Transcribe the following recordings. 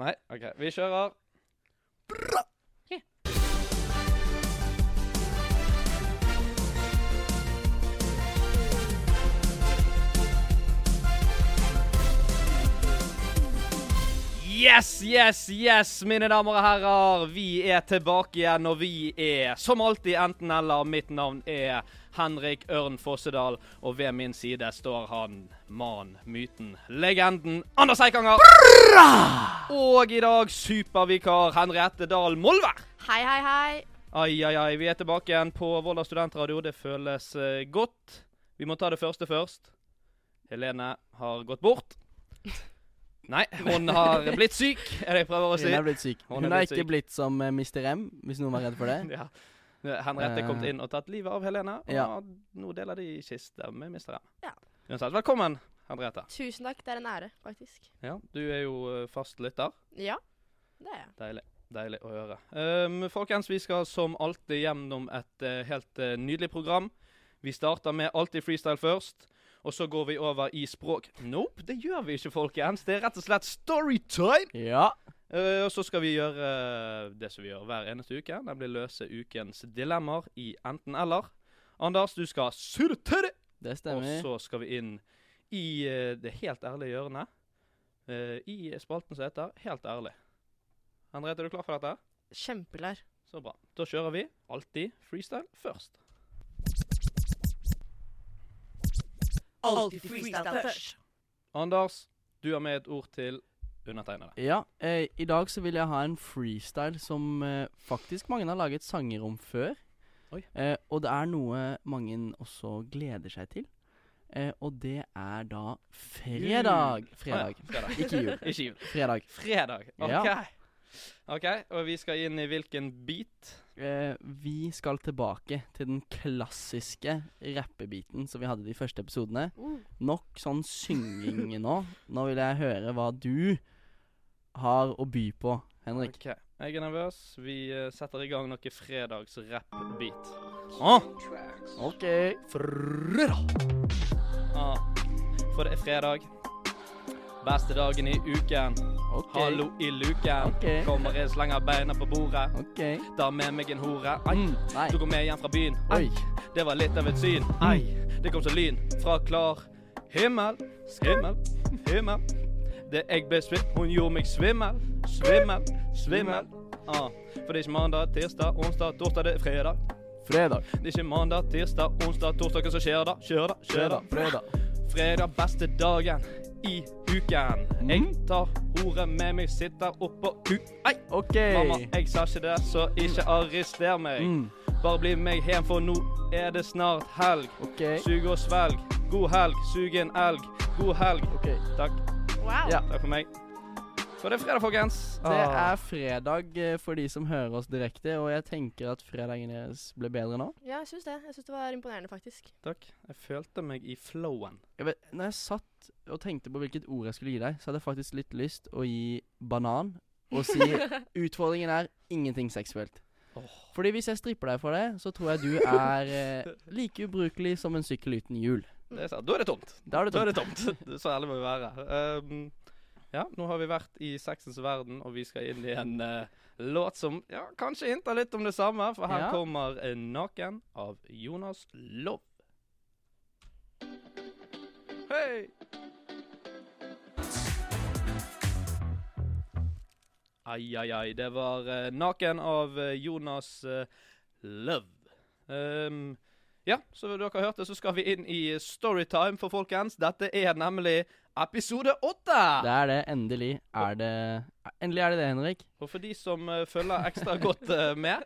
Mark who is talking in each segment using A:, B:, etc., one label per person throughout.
A: Nei? OK, vi kjører. Yes, yes, yes, mine damer og herrer. Vi er tilbake igjen, og vi er som alltid enten-eller. Mitt navn er Henrik Ørn Fossedal, og ved min side står han, mannen, myten, legenden Anders Eikanger. Og i dag supervikar Henriette Dahl Molvær.
B: Hei, hei, hei.
A: Ai, ai, ai. Vi er tilbake igjen på Volda studentradio. Det føles eh, godt. Vi må ta det første først. Helene har gått bort. Nei, hun har blitt syk, er det jeg prøver å si.
C: Hun er blitt syk.
A: Altså, Hun er
C: Hun, er
A: blitt
C: ikke
A: syk.
C: blitt som eh, Mr. M, hvis noen var redd for det.
A: Ja. Henriette er kommet inn og tatt livet av Helene. Og
C: Ja.
A: nå deler de kiste med Mr. M.
B: Ja.
A: Uansett, velkommen, Henriette.
B: Tusen takk, det er en ære, faktisk.
A: Ja, du er jo eh, fast lytter.
B: Ja, det er jeg.
A: Deilig. Deilig å høre. Ehm, folkens, vi skal som alltid gjennom et eh, helt eh, nydelig program. Vi starter med alltid freestyle først, og så går vi over i språk. Nope, det gjør vi ikke, folkens. Det er rett og slett storytime!
C: Ja.
A: Eh, og så skal vi gjøre eh, det som vi gjør hver eneste uke, nemlig løse ukens dilemmaer i enten-eller. Anders, du skal surre til det!
C: Det
A: Og
C: stemmer.
A: så skal vi inn i eh, det helt ærlige hjørnet. eh, I spalten som heter Helt ærlig. Henriette, er du klar for dette?
B: Kjempelær.
A: Så bra. Da kjører vi alltid freestyle først.
D: Alltid freestyle først.
A: Anders, du har med et ord til undertegnede.
C: Ja, eh, I dag så vil jeg ha en freestyle som eh, faktisk mange har laget sanger om før.
A: Oi.
C: Eh, og det er noe mange også gleder seg til. Eh, og det er da fredag. Fredag.
A: Ah, ja. Fredag.
C: Ikke jul.
A: Ikke jul.
C: Fredag.
A: Fredag. OK.
C: Ja.
A: Ok, Og vi skal inn i hvilken beat?
C: Eh, vi skal tilbake til den klassiske rappebiten som vi hadde de første episodene.
B: Uh.
C: Nok sånn synging nå. Nå vil jeg høre hva du har å by på, Henrik.
A: Ok, Jeg er nervøs. Vi eh, setter i gang noe fredagsrapp-beat. Ah,
C: OK.
A: ah. For det er fredag. Beste dagen i uken.
C: ok,
A: Hallo i luken.
C: Ok.
A: Kommer jeg slenger beina på bordet.
C: OK.
A: Tar med meg en hore. Ai,
C: Mm, nei.
A: så går vi hjem fra byen. Ai,
C: Oi.
A: Det var litt av et syn. Ei, det kom som lyn fra klar himmel. Himmel, himmel. Det jeg ble svimmel, hun gjorde meg svimmel. Svimmel, svimmel. Ah, for det er ikke mandag, tirsdag, onsdag, torsdag, det er fredag.
C: Fredag,
A: Det er ikke mandag, tirsdag, onsdag, torsdag, hva som skjer da? Skjer da, skjer da.
C: fredag, fredag.
A: Fredag, beste dagen i uken. Jeg tar hore med meg, sitter oppå ku... Ei,
C: OK.
A: mamma, jeg sa ikke det, så ikke arrester meg.
C: Mm,
A: Bare bli med meg hjem, for nå er det snart helg.
C: OK.
A: Sug og svelg. God helg. Sug en elg. God helg.
C: OK.
A: Takk.
B: Wow.
C: Ja.
A: Takk for meg. For det er fredag, folkens. Ah,
C: Det er fredag eh, for de som hører oss direkte, og jeg tenker at fredagen deres ble bedre nå.
B: Ja, jeg syns det. Jeg syns det var imponerende, faktisk.
A: Takk. Jeg følte meg i flowen.
C: Jeg vet, når jeg satt og tenkte på hvilket ord jeg skulle gi deg, så hadde jeg faktisk litt lyst å gi banan og si utfordringen er ingenting seksuelt.
A: Åh.
C: Fordi hvis jeg stripper deg for det, så tror jeg du er eh, like ubrukelig som en sykkel uten hjul.
A: Det er sant. Da er det tomt.
C: Da er det
A: Da er
C: tomt.
A: det tomt. Så ærlig må vi være. Um, ja, nå har vi vært i sexens verden, og vi skal inn i en eh, låt som ja, kanskje hinter litt om det samme, for her
C: Ja.
A: kommer eh, 'Naken' av Jonas Love. Hei! Ai, ai, ai. Det var eh, 'Naken' av eh, Jonas eh, Love. Um, ja, så dere hørte, så skal vi inn i storytime for folkens. Dette er nemlig episode åtte!
C: Det er det. Endelig er det Endelig er det det, Henrik.
A: Og for de som eh, følger ekstra godt eh, med,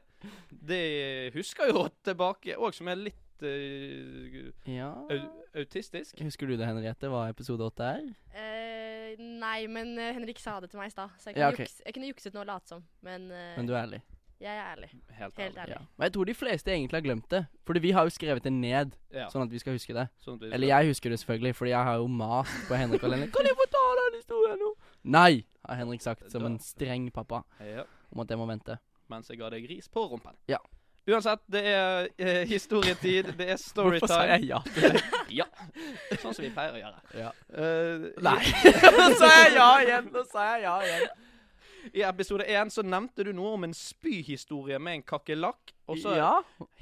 A: de husker jo tilbake òg, som er litt eh,
C: Ja
A: au autistisk.
C: Husker du det, Henriette, hva episode åtte er?
B: Eh, nei, men eh, Henrik sa det til meg i stad, så jeg kunne,
C: Ja, ok.
B: juks, jeg kunne jukset nå og late som. Men, eh,
C: Men du er ærlig.
B: jeg er ærlig.
A: Helt
B: Helt
A: ærlig.
B: ærlig.
C: Ja. Og jeg tror de fleste egentlig har glemt det. Fordi vi har jo skrevet det ned,
A: Ja,
C: sånn at vi skal huske det.
A: sånn at vi-
C: Eller jeg husker det selvfølgelig, fordi jeg har jo mast på Henrik og Lene. Kan jeg få ta den historien nå? Nei, har Henrik sagt som en streng pappa
A: Ja,
C: om at jeg må vente.
A: mens jeg ga deg ris på rumpen.
C: Ja.
A: Uansett, det er eh, historietid, det er
C: Hvorfor sa
A: storytime.
C: jeg ja til det?
A: Ja. Sånn som vi pleier å gjøre.
C: Ja.
A: Eh,
C: Nei, nå sa jeg ja igjen! Nå sa jeg ja igjen.
A: I episode én så nevnte du noe om en spyhistorie med en kakerlakk. Og så
C: ja.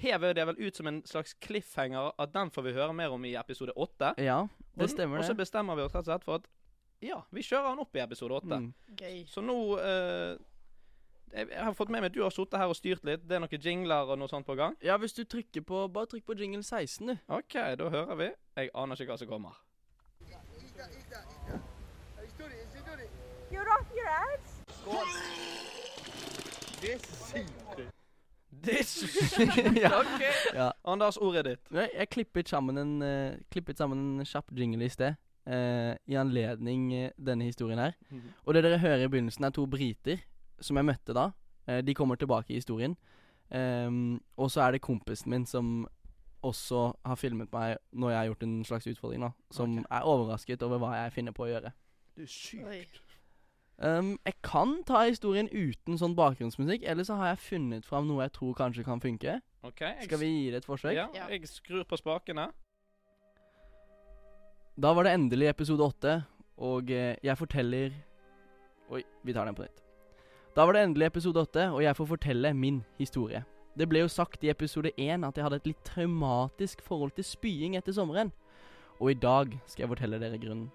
A: hever det vel ut som en slags cliffhanger at den får vi høre mer om i episode åtte.
C: ja,
A: Og-
C: det stemmer
A: Og så
C: det.
A: bestemmer vi oss rett og slett for at ja, vi kjører han opp i episode åtte.
C: Mm.
B: Gøy.
A: Så nå eh, jeg, jeg har fått med meg at du har sittet her og styrt litt. Det er noen jingler og noe sånt på gang.
C: Ja, hvis du trykker på Bare trykk på jingle 16, du.
A: OK, da hører vi. Jeg aner ikke hva som kommer. Det er sykt. ja.
C: Ja.
A: Anders, ordet er ditt.
C: Nei, jeg klippet sammen en, eh, klippet sammen en kjapp jingle i sted. eh, I anledning eh, denne historien her.
A: Mhm.
C: Og det dere hører i begynnelsen, er to briter som jeg møtte da. Eh, de kommer tilbake i historien. Ehm, og så er det kompisen min som også har filmet meg når jeg har gjort en slags utfordring, da. Som
A: Ok.
C: er overrasket over hva jeg finner på å gjøre.
A: Du er
B: Oi.
C: Ehm, jeg kan ta historien uten sånn bakgrunnsmusikk, eller så har jeg funnet fram noe jeg tror kanskje kan funke.
A: OK, jeg,
C: Skal vi gi det et forsøk?
A: ja,
B: Ja.
A: jeg skrur på spakene.
C: Da var det endelig episode åtte, og eh, jeg forteller Oi, vi tar den på nytt. Da var det endelig episode åtte, og jeg får fortelle min historie. Det ble jo sagt i episode én at jeg hadde et litt traumatisk forhold til spying etter sommeren, og i dag skal jeg fortelle dere grunnen.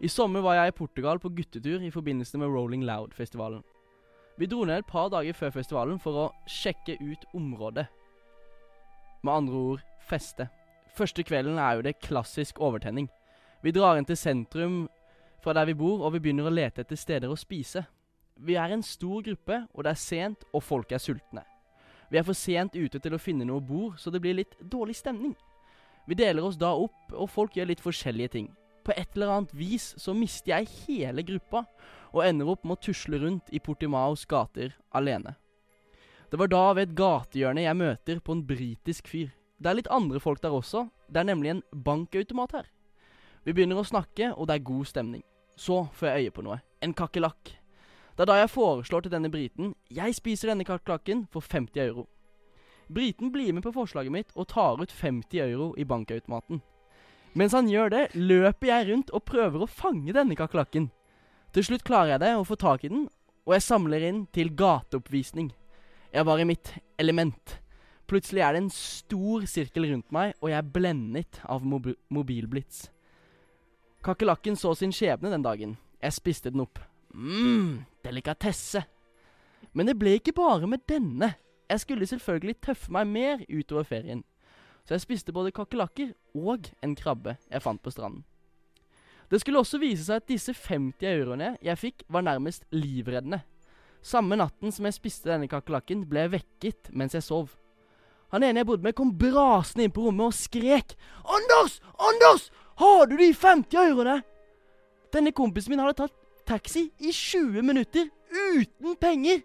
C: I sommer var jeg i Portugal på guttetur i forbindelse med Rolling Loud-festivalen. Vi dro ned et par dager før festivalen for å sjekke ut området. Med andre ord feste. Første kvelden er jo det klassisk overtenning. Vi drar inn til sentrum fra der vi bor, og vi begynner å lete etter steder å spise. Vi er en stor gruppe, og det er sent, og folk er sultne. Vi er for sent ute til å finne noe bord, så det blir litt dårlig stemning. Vi deler oss da opp, og folk gjør litt forskjellige ting. På et eller annet vis så mister jeg hele gruppa, og ender opp med å tusle rundt i Portimaos gater alene. Det var da ved et gatehjørne jeg møter på en britisk fyr. Det er litt andre folk der også. Det er nemlig en bankautomat her. Vi begynner å snakke, og det er god stemning. Så får jeg øye på noe. En kakerlakk. Det er da jeg foreslår til denne briten Jeg spiser denne kakerlakken for 50 euro. Briten blir med på forslaget mitt og tar ut 50 euro i bankautomaten. Mens han gjør det, løper jeg rundt og prøver å fange denne kakerlakken. Til slutt klarer jeg det og får tak i den, og jeg samler inn til gateoppvisning. Jeg var i mitt element. Plutselig er det en stor sirkel rundt meg, og jeg er blendet av mobi mobilblitz. Kakerlakken så sin skjebne den dagen. Jeg spiste den opp. mm, delikatesse. Men det ble ikke bare med denne. Jeg skulle selvfølgelig tøffe meg mer utover ferien. Så jeg spiste både kakerlakker og en krabbe jeg fant på stranden. Det skulle også vise seg at disse 50 euroene jeg fikk, var nærmest livreddende. Samme natten som jeg spiste denne kakerlakken, ble jeg vekket mens jeg sov. Han ene jeg bodde med, kom brasende inn på rommet og skrek. 'Anders! Anders! Har du de 50 euroene?' Denne kompisen min hadde tatt taxi i 20 minutter uten penger.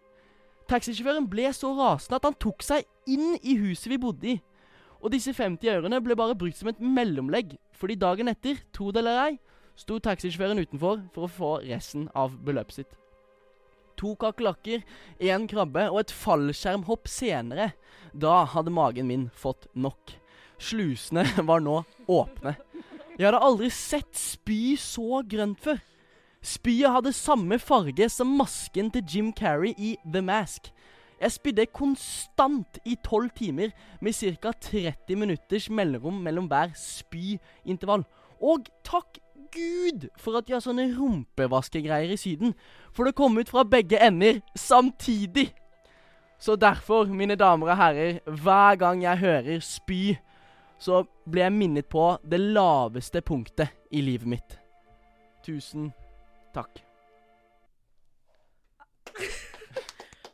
C: Taxisjåføren ble så rasende at han tok seg inn i huset vi bodde i. Og disse 50 euroene ble bare brukt som et mellomlegg, fordi dagen etter, tro det eller ei, sto taxisjåføren utenfor for å få resten av beløpet sitt. To kakerlakker, én krabbe og et fallskjermhopp senere da hadde magen min fått nok. Slusene var nå åpne. Jeg hadde aldri sett spy så grønt før. Spyet hadde samme farge som masken til Jim Carrey i The Mask. Jeg spydde konstant i tolv timer, med ca. 30 minutters mellomrom mellom hver spyintervall. Og takk Gud for at de har sånne rumpevaskegreier i Syden, for det kom ut fra begge ender samtidig. Så derfor, mine damer og herrer, hver gang jeg hører spy, så blir jeg minnet på det laveste punktet i livet mitt. Tusen takk.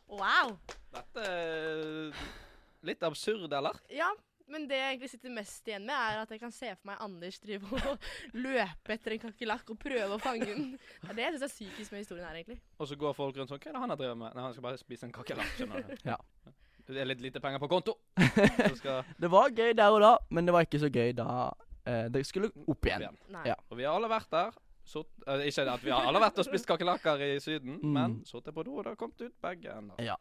B: Wow.
A: Dette er litt absurd, eller?
B: Ja, men det jeg egentlig sitter mest igjen med, er at jeg kan se for meg Anders drive og løpe etter en kakerlakk og prøve å fange den. Det er det jeg syns er psykisk med historien her, egentlig.
A: Og så går folk rundt sånn Hva er det han har drevet med? Nei, han skal bare spise en kakerlakk, skjønner du.
C: Ja.
A: Det er litt lite penger på konto. Så skal
C: Det var gøy der og da, men det var ikke så gøy da eh, det skulle opp igjen.
B: Nei.
C: Ja.
A: Og vi har alle vært der. Sutt, eh, ikke at vi har alle vært og spist kakerlakker i Syden,
C: Mm.
A: men sittet på do og det har kommet ut begge ender.
C: Ja.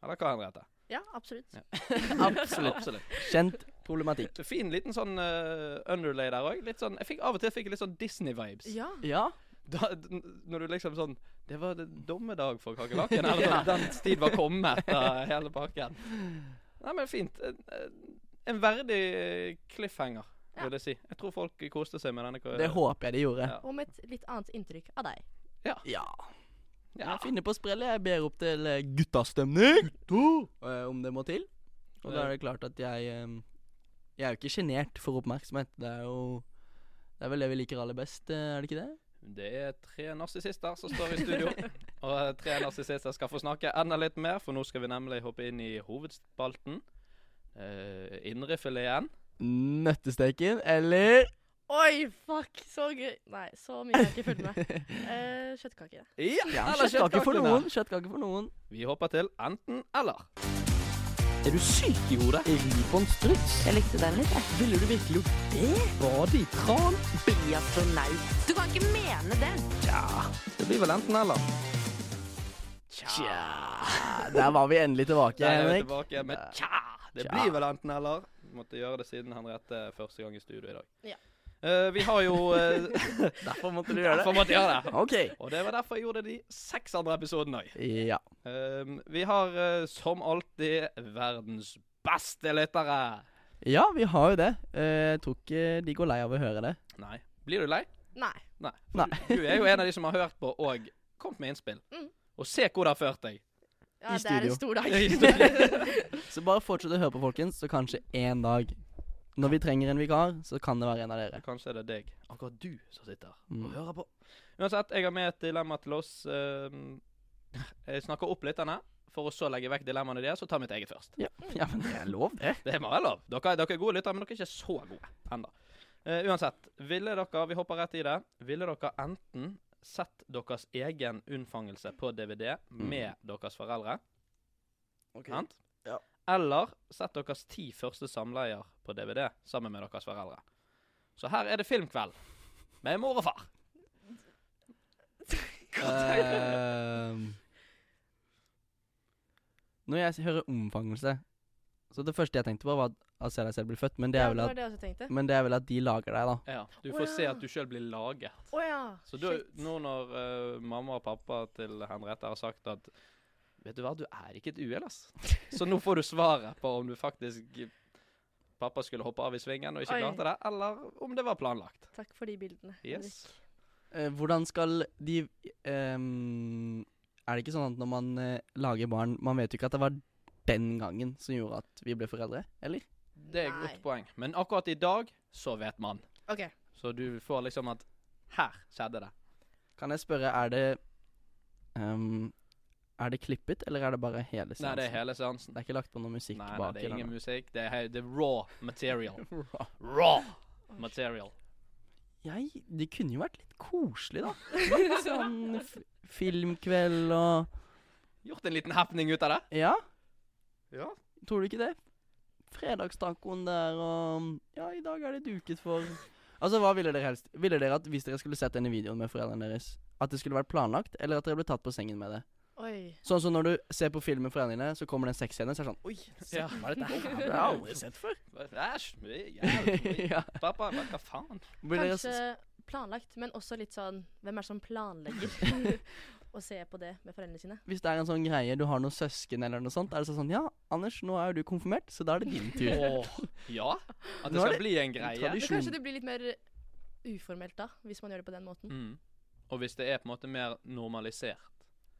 A: Eller hva, Henriette?
B: Ja, absolutt.
A: Ja.
C: Absolutt.
A: Absolutt.
C: Kjent problematikk.
A: Fin liten sånn eh, underlay der òg. Litt sånn Jeg fikk av og til fikk jeg litt sånn Disney-vibes.
B: Ja.
C: Ja,
A: da, n- når du liksom sånn Det var det dommedag for kakerlakken. Eller sånn, den tid var kommet, da, hele pakken. Nei, men fint. En, en verdig cliffhanger, vil jeg si. Jeg tror folk koste seg med denne. ko-
C: Det håper jeg de gjorde.
A: Eh. Ja.
B: Og med et litt annet inntrykk av deg.
C: Ja.
A: Ja.
C: Jeg finner på sprell. Jeg ber opp til eh, guttastemning, eh, om det må til. Og da er det klart at jeg eh, Jeg er jo ikke sjenert for oppmerksomhet. Det er jo Det er vel det vi liker aller best, eh, er det ikke det?
A: Det er tre narsissister som står i studio. Og tre narsissister skal få snakke enda litt mer, for nå skal vi nemlig hoppe inn i hovedspalten. Uh, Indrefileten.
C: Nøttesteken eller
B: Oi, fuck! Så gøy. Nei, så mye har jeg ikke fulgt med. Eh, Kjøttkaker.
A: Ja,
C: Kjøttkake for noen. Kjøttkake for noen.
A: Vi hopper til enten-eller.
C: Er du syk i hodet? Ribon struts?
D: Jeg likte den litt, jeg.
C: Ville du virkelig gjort det? Bade i tran?
D: Bli astronaut. Du kan ikke mene det.
A: Det blir vel enten-eller.
C: Tja Der var vi endelig tilbake,
A: Der er vi
C: Henrik.
A: tilbake med
C: Nei.
A: tja. Det
C: Tja.
A: blir vel enten-eller. Måtte gjøre det siden Henriette første gang i studio i dag.
B: Ja.
A: Eh, vi har jo eh,
C: Derfor måtte du
A: Derfor måtte jeg gjøre det.
C: OK.
A: Og det var derfor jeg gjorde de seks andre episodene òg.
C: Ja.
A: vi har eh, som alltid verdens beste lyttere.
C: Ja, vi har jo det. Eh, Jeg tror ikke de går lei av å høre det.
A: Nei. Blir du lei?
B: Nei.
A: Nei.
C: Nei.
A: For Du, du er jo en av de som har hørt på og kommet med innspill.
B: Mm.
A: Og se hvor det har ført deg.
B: Ja, det
C: I
B: er
C: studio.
B: en stor dag.
A: I studio.
C: Så bare fortsett å høre på, folkens, så kanskje en dag Når vi trenger en vikar, så kan det være en av dere.
A: Kanskje er det deg, akkurat du, som sitter og
C: Mm.
A: hører på. Uansett, jeg har med et dilemma til oss. Ehm, Jeg snakker opp lytterne, for å så legge vekk dilemmaene deres og ta mitt eget først.
C: Ja, ja men det er lov, det.
A: Det må være lov. Dere, dere er gode lyttere, men dere er ikke så gode ennå. uansett, ville dere Vi hopper rett i det. Ville dere enten sett deres egen unnfangelse på DVD med deres foreldre, sant?
C: Ja.
A: Eller sett deres ti første samleier på DVD sammen med deres foreldre. Så her er det filmkveld med mor og far.
C: Ehm, når jeg s- hører omfangelse Så det første jeg tenkte på, var at- at Se deg selv bli født, men det
B: Ja,
C: er vel
B: det
C: at, Mm.
B: var det jeg også tenkte.
C: men det er vel at de lager deg, da.
A: Ja, du
B: Å
A: får se
B: ja.
A: at du sjøl blir laget.
B: Å ja.
A: Så da,
B: shit.
A: nå når eh, mamma og pappa til Henriette har sagt at Vet du hva, du er ikke et uhell, ass. Så nå får du svaret på om du faktisk Pappa skulle hoppe av i svingen og ikke
B: Oi.
A: klarte det, eller om det var planlagt.
B: Takk for de bildene.
A: Yes.
C: Eh, hvordan skal de ehm, Er det ikke sånn at når man eh, lager barn Man vet jo ikke at det var den gangen som gjorde at vi ble foreldre, eller?
A: Det er et godt
B: Nei.
A: poeng. Men akkurat i dag så vet man.
B: OK.
A: Så du får liksom at Her skjedde det.
C: Kan jeg spørre, er det ehm, Er det klippet, eller er det bare hele
A: Nei, det er
C: seansen?
A: hele seansen.
C: Det er ikke lagt på noe musikk
A: Nei, nei,
C: bak?
A: det er
C: eller
A: ingen
C: noe.
A: musikk. Det er, he- det er raw material. Raw material.
C: Jeg, det kunne jo vært litt koselig, da. Litt sånn f filmkveld og
A: Gjort en liten happening ut av det.
C: Ja,
A: Ja.
C: tror du ikke det? Fredagstacoen der og Ja, i dag er det duket for Altså, hva ville dere helst? Ville dere at hvis dere skulle sett denne videoen med foreldrene deres, at det skulle vært planlagt, eller at dere ble tatt på sengen med det?
B: Oi.
C: Sånn som når du ser på film med foreldrene dine, så kommer det en sexscene, så er det sånn Oi, se,
A: Ja.
C: hva er dette her? Det har jeg aldri sett før.
A: Æsj. jævlig.
C: ja.
A: Pappa, hva hva faen?
C: Ville dere s-
B: Kanskje planlagt, men også litt sånn Hvem er det som planlegger å se på det med foreldrene sine?
C: hvis det er en sånn greie, du har noen søsken eller noe sånt, er det sånn sånn Ja, Anders, nå er jo du konfirmert, så da er det din tur.
A: Åh, ja? At det
C: Nå er
A: skal
C: det
A: bli en greie?
C: tradisjon.
B: Men kanskje det blir litt mer uformelt da, hvis man gjør det på den måten.
A: Mm. Og hvis det er på en måte mer normalisert.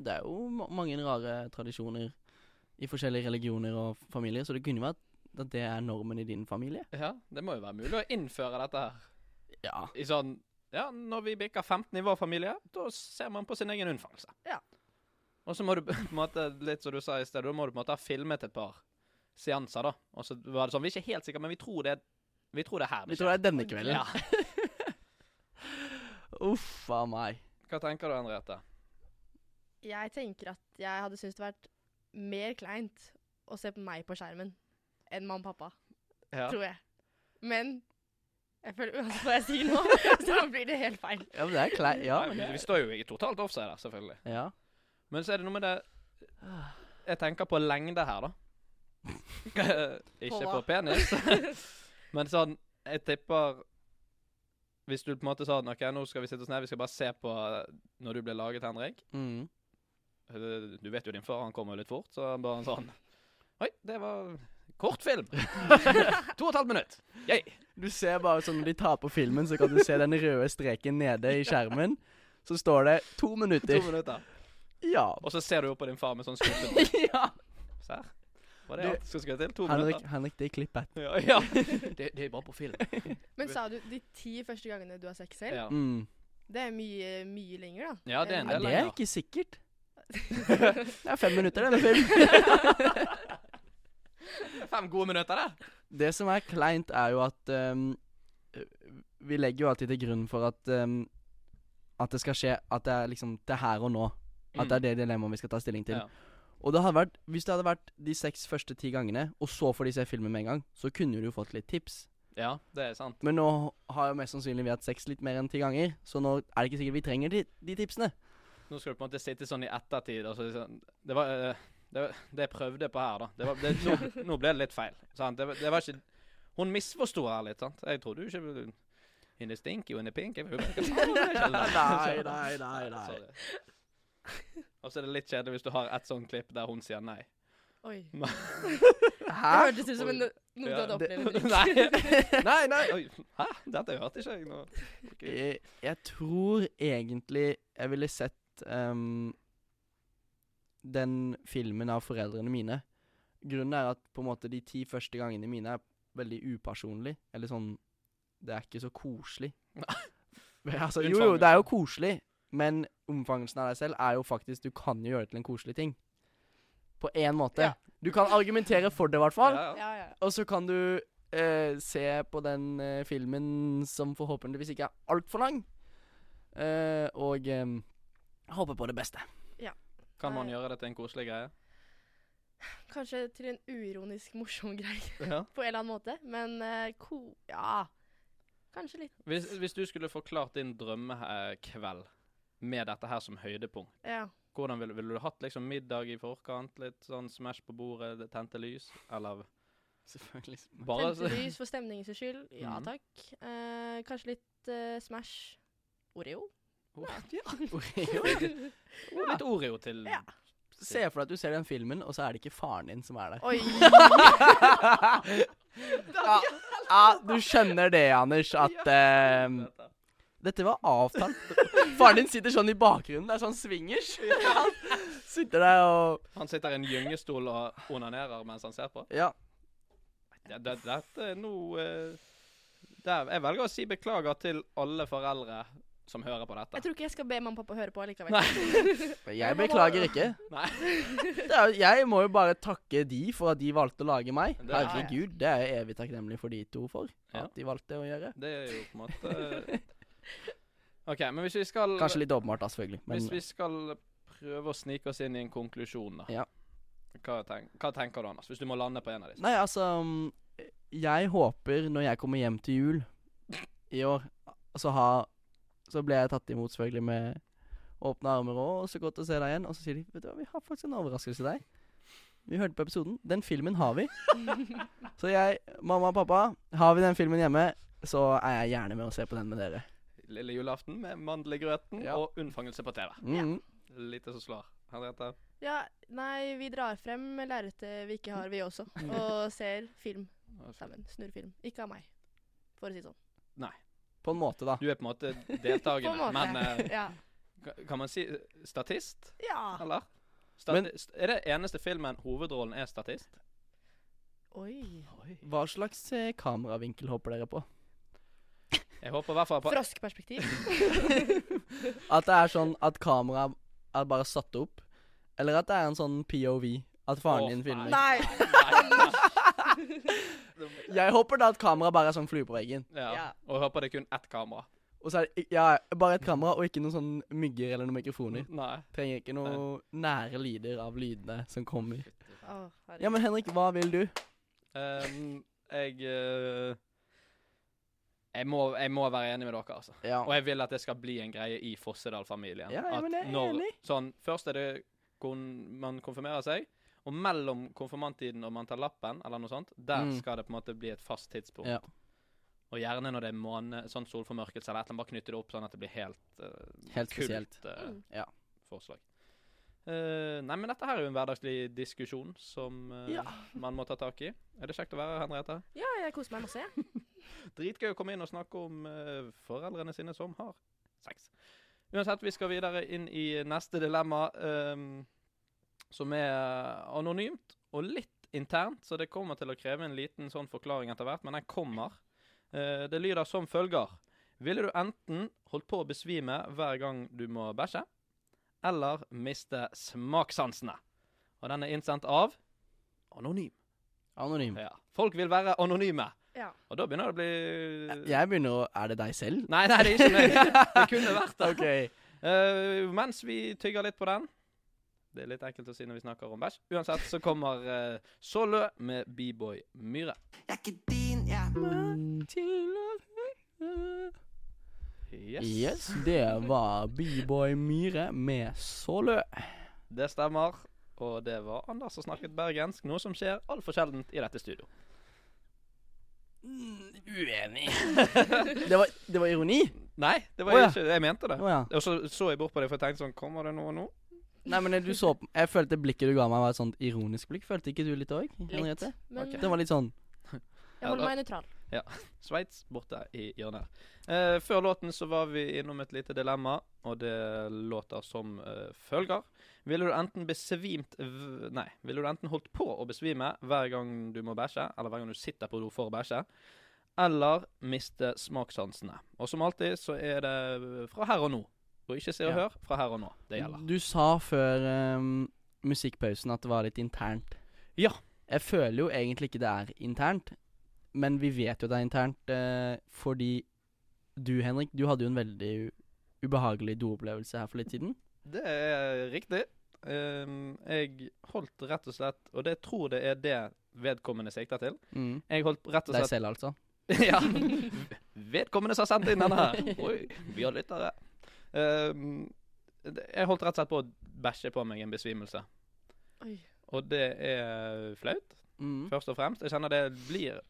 C: Det er jo ma- mange rare tradisjoner i forskjellige religioner og f- familier, så det kunne vært at det er normen i din familie.
A: Ja, Det må jo være mulig å innføre dette her.
C: Ja.
A: I sånn Ja, når vi bikker 15 i vår familie, da ser man på sin egen unnfangelse.
B: Ja.
A: Og så må du på en måte, litt som du sa i sted, da må du på en måte ha filmet et par seanser, da. Og så var det sånn Vi er ikke helt sikre, men vi tror det Vi tror det er her
C: Vi
A: det
C: tror det
A: skjer.
C: er denne kvelden.
A: Ja.
C: Uff a meg.
A: Hva tenker du, Henriette?
B: Jeg tenker at jeg hadde syntes det vært mer kleint å se på meg på skjermen enn mamma og pappa,
A: Ja.
B: tror jeg. Men jeg føler uansett hva jeg sier nå, så blir det helt feil.
C: Ja, men det er klei... Ja.
A: Nei,
C: Men
A: men vi står jo i totalt offside her, selvfølgelig.
C: ja.
A: Men så er det noe med det Ah. Jeg tenker på lengde her, da. Ikke på
B: På hva?
A: penis. Men sånn Jeg tipper Hvis du på en måte sa at nå skal vi sitte oss ned, vi skal bare se på eh, når du ble laget, Henrik.
C: Mm.
A: Eh, Du vet jo din far, han kommer jo litt fort, så han bare sånn Oi, det var kort film. to og et halvt minutt. Yay.
C: Du ser bare sånn når de tar på filmen, så kan du se den røde streken nede i skjermen. Så står det to
A: To
C: minutter.
A: minutter.
C: Ja.
A: Og så ser du opp på din far med sånn skuffelse.
C: ja.
A: Se her. Var det
C: Du-
A: alt som skulle til? To
C: Henrik,
A: minutter.
C: Henrik, det er klippet.
A: Ja, ja. Det, det er bare på film.
B: Men sa du de ti første gangene du har sex selv?
A: Ja,
C: Mm.
B: Det er mye, mye lenger, da.
A: ja det er en
C: Nei,
A: del
C: det er
A: lenger.
C: ikke sikkert. Det er fem minutter, det. Eller film.
A: Fem gode minutter, det.
C: Det som er kleint, er jo at ehm, Vi legger jo alltid til grunn for at ehm, At det skal skje At det er liksom Det er her og nå. At det er det dilemmaet vi skal ta stilling til.
A: Ja.
C: Og det hadde vært Hvis det hadde vært de seks første ti gangene, og så får de se filmen med en gang, så kunne du jo fått litt tips.
A: Ja, det er sant.
C: Men nå har jo mest sannsynlig vi hatt sex litt mer enn ti ganger, så nå er det ikke sikkert vi trenger de, de tipsene.
A: Nå skal du på en måte sitte sånn i ettertid og så liksom Det var eh, det, var- det jeg prøvde på her, da. Det var, det, nå, nå ble det litt feil. Sant? Det, var- det var ikke Hun misforsto her litt, sant. Jeg trodde jo ikke In the stinky and the pink Jeg vet ikke hva det er.
C: Nei, nei, nei, nei.
A: Sorry. Og så er det litt kjedelig hvis du har et sånt klipp der hun sier nei.
B: Oi. Det
C: Hæ?
B: hørtes ut som en, noe du
A: Ja,
B: hadde
C: det-
B: opplevd. Henrik.
A: nei. nei, nei. Oi, hæ? Dette hørte ikke jeg nå. Ok.
C: Jeg, Eh, jeg tror egentlig jeg ville sett ehm, den filmen av foreldrene mine. Grunnen er at på en måte de ti første gangene mine er veldig upersonlig. Eller sånn Det er ikke så koselig. Men altså, jo, jo, det er jo koselig, men omfangelsen av deg selv er jo faktisk Du kan jo gjøre det til en koselig ting. På én måte.
B: Ja.
C: Du kan argumentere for det, i hvert fall.
A: Ja, ja.
B: Ja, ja.
C: Og så kan du eh, se på den eh, filmen som forhåpentligvis ikke er altfor lang. Eh, og eh, håpe på det beste.
A: Kan man gjøre det til en koselig greie?
B: Kanskje til en uironisk morsom greie
A: Ja.
B: på en eller annen måte. Men eh, ko... Ja. Kanskje litt.
A: Hvis, hvis du skulle forklart din drømmekveld med dette her som høydepunkt
B: Ja.
A: Hvordan ville vil du hatt liksom middag i forkant? Litt sånn smash på bordet, det tente lys? Eller
C: Selvfølgelig.
A: bare
B: Tente lys for stemningens skyld. Ja
A: Mhm.
B: takk. Eh, kanskje litt eh, Smash. Oreo.
A: Litt Oreo til
B: Ja.
C: Se for deg at du ser den filmen, og så er det ikke faren din som er der.
B: Oi.
C: Ja, ja, du skjønner det, Anders, at
A: um,
C: eh, Dette var avtalt. Faren din sitter sånn i bakgrunnen. Det er sånn swingers. Han sitter der og
A: Han sitter i en gyngestol og onanerer mens han ser på.
C: Ja.
A: Det, det, dette er noe eh, der. Jeg velger å si beklager til alle foreldre som hører på
B: Jeg
A: dette.
B: tror ikke jeg skal be mamma og pappa høre på likevel.
A: Nei.
C: Jeg beklager ikke.
A: Nei.
C: Det er, jo- jeg må jo bare takke de for at de valgte å lage meg.
A: Det er-
C: Herregud, det er jeg evig takknemlig for de to for.
A: Ja.
C: At de valgte å gjøre.
A: Det er jo på en måte eh, OK, men hvis vi skal
C: Kanskje litt åpenbart, da, selvfølgelig.
A: Hvis vi
C: Men
A: skal prøve å snike oss inn i en konklusjon, da.
C: Ja.
A: Hva, tenk, hva tenker du, Anders? Hvis du må lande på en av disse.
C: Nei, altså mm, Jeg håper når jeg kommer hjem til jul i år, så ha Så ble jeg tatt imot selvfølgelig med åpne armer og så godt å se deg igjen. Og så sier de Vet du hva, vi har faktisk en overraskelse til deg. Vi hørte på episoden. Den filmen har vi. Så jeg, mamma og pappa, har vi den filmen hjemme, så er jeg gjerne med å se på den med dere.
A: Lille julaften med mandel i grøten
C: Ja.
A: og unnfangelse på TV.
C: Mm.
A: Lite som slår. Henriette?
B: Ja, nei, vi drar frem lerretet vi ikke har, vi også.
A: Mm.
B: Og ser film sammen. Snurrfilm. Ikke av meg, for å si det sånn.
C: På en måte, da.
A: Du er på en måte
B: På en
A: deltakende,
B: måte.
A: men eh,
B: ja.
A: ka- kan man si eh, statist,
B: ja.
A: eller? Stati
C: Men-
A: st- er det eneste filmen hovedrollen er statist?
B: Oi.
C: Hva slags eh, kameravinkel håper dere på?
A: Jeg håper i hvert fall på
B: Froskperspektiv.
C: At det er sånn at kameraet er bare satt opp? Eller at det er en sånn POV? At faren
A: Åh,
C: din filmer?
A: nei.
B: nei.
C: Jeg håper da at kameraet bare er sånn flue på veggen.
A: Ja.
B: Ja.
A: Og jeg håper det er kun ett kamera.
C: Og så er det ja, bare et kamera, og ikke noen sånn mygger eller noen mikrofoner.
A: Nei.
C: Trenger ikke noe nære lyder av lydene som kommer.
B: Å, herregud.
C: Ja, men Henrik, hva vil du?
A: Ehm, jeg eh, jeg, må, jeg må være enig med dere, altså.
C: Ja.
A: Og jeg vil at det skal bli en greie i Fossedal-familien.
C: Ja, ja,
A: At
C: men jeg er
A: når-
C: enig.
A: Sånn, først er det kon man konfirmerer seg, og mellom konfirmanttiden og man tar lappen, eller noe sånt, der
C: Mm.
A: skal det på en måte bli et fast tidspunkt.
C: Ja.
A: Og gjerne når det er måne, sånn solformørkelse eller et eller annet, bare knytte det opp sånn at det blir helt eh,
C: Helt spesielt.
A: Kult eh,
B: Mm.
C: Ja.
A: forslag. Eh, nei, men dette her er jo en hverdagslig diskusjon som eh,
C: Ja.
A: man må ta tak i. Er det kjekt å være her, Henriette?
B: Ja, jeg koser meg masse, jeg.
A: Dritgøy å komme inn og snakke om eh, foreldrene sine som har sex. Uansett, vi skal videre inn i neste dilemma, ehm, som er eh, anonymt og litt internt, så det kommer til å kreve en liten sånn forklaring etter hvert, men den kommer. Eh, det lyder som følger. Ville du enten holdt på å besvime hver gang du må bæsje, eller miste smakssansene? Og den er innsendt av Anonym.
C: Anonym.
A: Ja. Folk vil være anonyme,
B: Ja.
A: og da begynner det å bli
C: Jeg begynner å Er det deg selv?
A: Nei, nei, det er ikke meg. Det kunne vært det.
C: OK.
A: Eh, mens vi tygger litt på den Det er litt ekkelt å si når vi snakker om bæsj. Uansett så kommer eh, Solø med B-boy Myhre.
D: Jeg er ikke din, jeg.
A: Yes.
C: Yes, det var B-boy Myhre med Solø.
A: Det stemmer. Og det var Anders som snakket bergensk, noe som skjer altfor sjeldent i dette studio. Mm,
C: Uenig. det, var, det var ironi?
A: Nei, det var
C: Å, ja.
A: ikke det jeg mente.
C: Å
A: det
C: ja.
A: Og så så jeg bort på deg, for jeg tenkte sånn Kommer det noe nå?
C: Nei, men du så på Jeg følte blikket du ga meg, var et sånt ironisk blikk. Følte ikke du litt òg?
B: Litt. Men
A: Ok.
C: Det var litt sånn
B: jeg holder meg nøytral.
A: Sveits borte i hjørnet her. Eh, før låten så var vi innom et lite dilemma, og det låter som eh, følger. Ville du enten besvimt v Nei. Ville du enten holdt på å besvime hver gang du må bæsje, eller hver gang du sitter på do for å bæsje, eller miste smakssansene? Og som alltid så er det fra her og nå. Og ikke se og
C: Ja.
A: hør, fra her og nå. Det gjelder.
C: Du sa før ehm, musikkpausen at det var litt internt.
A: Ja.
C: Jeg føler jo egentlig ikke det er internt, men vi vet jo det er internt eh, fordi du, Henrik, du hadde jo en veldig ubehagelig doopplevelse her for litt siden.
A: Det er riktig. Ehm, jeg holdt rett og slett, og det tror det er det vedkommende sikter til.
C: Mm.
A: Jeg holdt rett og slett
C: Deg selv, altså.
A: ja. Vedkommende som har sendt inn denne her. Oi, vi har lyttere. Ehm, det- jeg holdt rett og slett på å bæsje på meg en besvimelse.
B: Oi.
A: Og det er flaut,
C: Mm.
A: først og fremst. Jeg kjenner det blir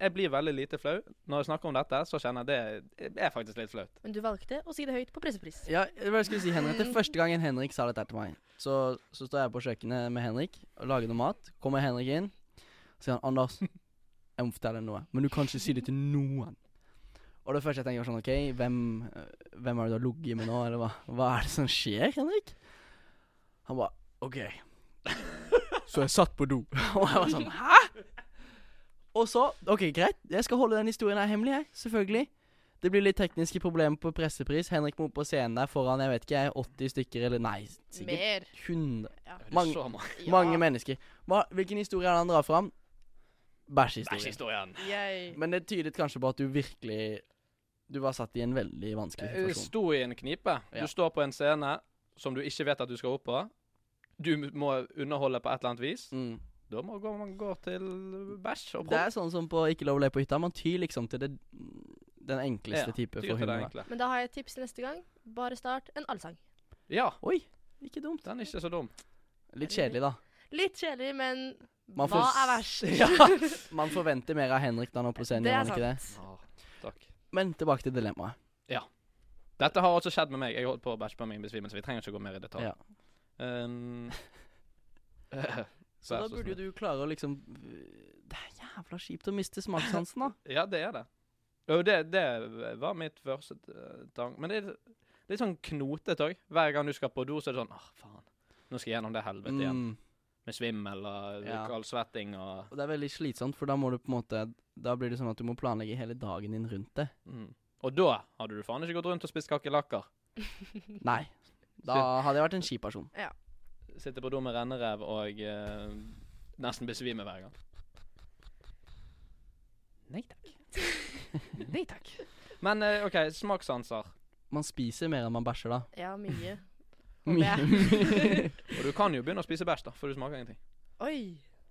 A: Jeg blir veldig lite flau. Når jeg snakker om dette, så kjenner jeg det det er faktisk litt flaut.
B: Men du valgte å si det høyt på pressepris.
C: Ja, det var det jeg skulle si, Henrik. Det er første gangen Henrik sa dette her til meg. Så, så står jeg på kjøkkenet med Henrik og lager noe mat. Kommer Henrik inn og sier han, 'Anders, jeg må fortelle deg noe, men du kan ikke si det til noen'. Og det første jeg tenker, var sånn OK, hvem, eh, hvem er det du har ligget med nå, eller hva, hva er det som skjer, Henrik? Han bare OK. Så jeg satt på do. Og jeg var sånn Hæ? Og så OK, greit. Jeg skal holde den historien her hemmelig, jeg. Selvfølgelig. Det blir litt tekniske problemer på pressepris. Henrik må opp på scenen der foran jeg vet ikke, jeg, 80 stykker, eller nei, sikkert
B: Mer.
C: 100
A: Det
B: Ja.
A: er
C: Mange-
A: så mange
C: Mange mennesker. Hva, hvilken historie er det han drar fram? Bæsjehistorien.
A: bæsjhistorien.
B: Yay.
C: Men det tydet kanskje på at du virkelig Du var satt i en veldig vanskelig
A: Jeg
C: situasjon.
A: Sto i en knipe.
C: Ja.
A: Du står på en scene som du ikke vet at du skal opp på. Du må underholde på et eller annet vis.
C: Mm.
A: Da må går man gå til bæsj og
C: Det
A: promp.
C: er sånn som på Ikke lov å le på hytta. Man tyr liksom til det, den enkleste
A: Ja,
C: type
A: Tyr til det
C: for hunder. da.
A: enkle.
B: Men da har jeg et tips til neste gang. Bare start en allsang.
A: Ja,
C: Oi, ikke dumt.
A: den er ikke så dum.
C: Litt kjedelig, da.
B: Litt kjedelig, men
C: Man
B: hva
C: får s-
B: er verst?
C: Man forventer mer av Henrik når han er oppe på scenen.
B: det
C: gjør
B: er
C: man
B: sant.
C: ikke
A: takk.
C: det? Men tilbake til dilemmaet.
A: Dette har også skjedd med meg. Jeg holdt på å bæsje på min besvimelse. Vi trenger ikke gå mer i detalj.
C: Ja.
A: Um,
C: Så da burde jo du klare å liksom Det er jævla kjipt å miste smakssansen, da.
A: Ja, det er det. Og det, det var mitt første eh, tank. Men det er det er litt sånn knotete òg. Hver gang du skal på do, så er det sånn Åh, faen. Nå skal jeg gjennom det helvete igjen.
C: Mm.
A: Med svimmel og
C: Ja.
A: kaldsvetting og
C: Og det er veldig slitsomt, for da må du på en måte Da blir det sånn at du må planlegge hele dagen din rundt det.
A: mm. Og da hadde du faen ikke gått rundt og spist kakerlakker.
C: Nei. Da hadde jeg vært en kjip person.
A: Sitte på do med rennerev og eh, nesten besvime hver gang. Nei takk. Nei takk. Men eh, OK, smakssanser.
C: Man spiser mer enn man bæsjer, da.
B: Ja, mye. Håper
C: Mye.
B: jeg.
A: Og du kan jo begynne å spise bæsj, da, for du smaker ingenting.
B: Oi,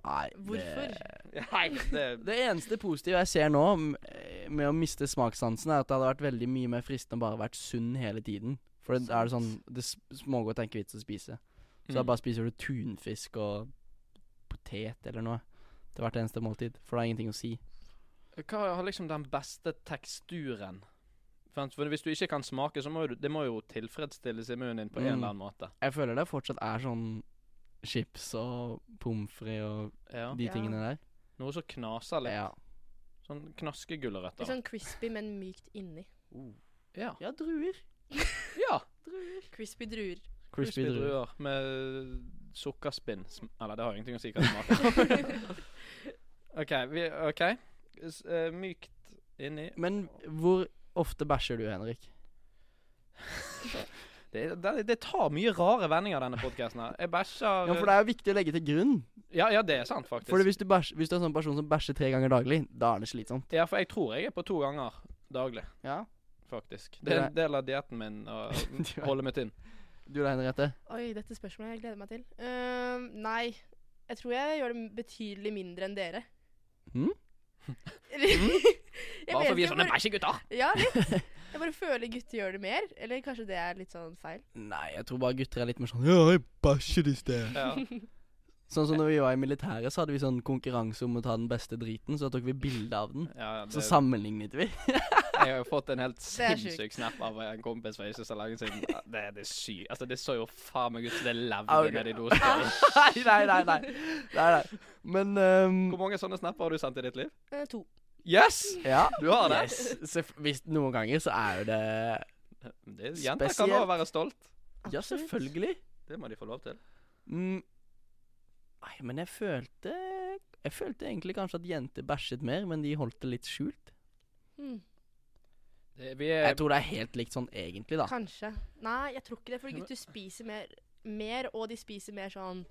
C: Nei,
B: hvorfor?
C: Det,
A: Nei, det
C: det eneste positive jeg ser nå m- eh, med å miste smakssansen, er at det hadde vært veldig mye mer fristende å bare vært sunn hele tiden. For da er det sånn Det s- smågodt er ikke vits å spise. Så da bare spiser du tunfisk og potet eller noe. Det er hvert eneste måltid. For det er ingenting å si.
A: Hva har liksom den beste teksturen? For for hvis du ikke kan smake, så må jo du- det må jo tilfredsstilles i munnen din på en
C: Mm.
A: eller annen måte.
C: Jeg føler det fortsatt er sånn chips og pommes frites og
A: Ja.
C: de
B: Ja.
C: tingene der.
A: Noe som knaser litt.
C: Ja.
A: Sånn knaskegulrøtter.
B: Litt sånn crispy, men mykt inni.
A: Ja.
C: ja, druer.
A: ja.
B: Crispy druer.
C: Crispy druer.
A: druer med sukkerspinn. Sm- Eller det har jo ingenting å si hva det smaker. OK. Vi, ok. S eh, mykt inni
C: Men hvor ofte bæsjer du, Henrik?
A: det, det, det tar mye rare vendinger, denne podkasten her. Jeg bæsjer
C: Ja, For det er jo viktig å legge til grunn.
A: ja, ja, det er sant, faktisk.
C: Fordi hvis du, bæsj- hvis du er en sånn person som bæsjer tre ganger daglig, da er det slitsomt.
A: Ja, for jeg tror jeg er på to ganger daglig,
C: Ja.
A: faktisk. Det er en
C: Det
A: del av dietten min å
C: Du er-
A: holde meg tynn.
C: Du da, Henriette?
B: Oi, dette spørsmålet jeg gleder meg til. Ehm, nei, jeg tror jeg gjør det betydelig mindre enn dere.
C: Hm?
B: Eller- jeg
A: Bare
B: vet
A: for sånn, vi
B: ikke,
A: er sånne
B: jeg bare-
A: bæsjegutter.
B: Ja, litt. Jeg bare føler gutter gjør det mer. Eller kanskje det er litt sånn feil.
C: Nei, jeg tror bare gutter er litt mer sånn Ja, jeg bæsjer i sted.
A: Ja.
C: Sånn som når vi var i militæret, så hadde vi sånn konkurranse om å ta den beste driten, så tok vi bilde av den.
A: Ja,
C: Så
A: det,
C: sammenlignet vi.
A: jeg har jo fått en helt
B: Det er sjukt.
A: sinnssyk snap av en kompis for ikke så lenge siden. Det, det er sykt. Altså, det så jo faen meg ut som det levde
C: Ok.
A: okay. nedi doskålen.
C: nei, nei, nei, nei. nei, nei. Men ehm,
A: Hvor mange sånne snapper har du sendt i ditt liv?
B: Eh, to.
A: Yes!
C: Ja.
A: Du har det?
C: Yes. selvf- hvis noen ganger så er jo det
A: det jenter kan
C: Spesielt.
A: også være stolt.
C: Ja, selvfølgelig.
A: Det må de få lov til.
C: Mm. Nei, men jeg følte Jeg følte egentlig kanskje at jenter bæsjet mer, men de holdt det litt skjult.
B: Hm,
A: Det, vi er,
C: Jeg tror det er helt likt sånn egentlig, da.
B: kanskje. Nei, jeg tror ikke det. For gutter spiser mer, mer og de spiser mer sånn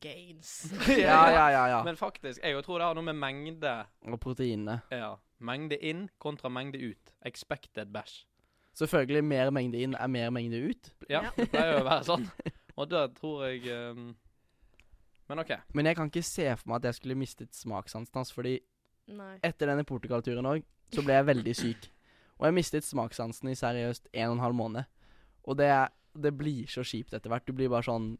B: gains.
C: Ja, ja, ja. ja.
A: Men faktisk, jeg jo tror det har noe med mengde
C: Og proteinene.
A: ja. Mengde inn kontra mengde ut. Expected bæsj.
C: Selvfølgelig mer mengde inn er mer mengde ut.
A: Ja,
B: Ja.
A: det pleier jo å være sånn. Og da tror jeg ehm, Men OK.
C: Men jeg kan ikke se for meg at jeg skulle mistet smakssansen hans, fordi
B: Nei.
C: etter denne Portugal-turen òg, så ble jeg veldig syk. Og jeg mistet smakssansen i seriøst en og en halv måned. Og det, er- det blir så kjipt etter hvert. Du blir bare sånn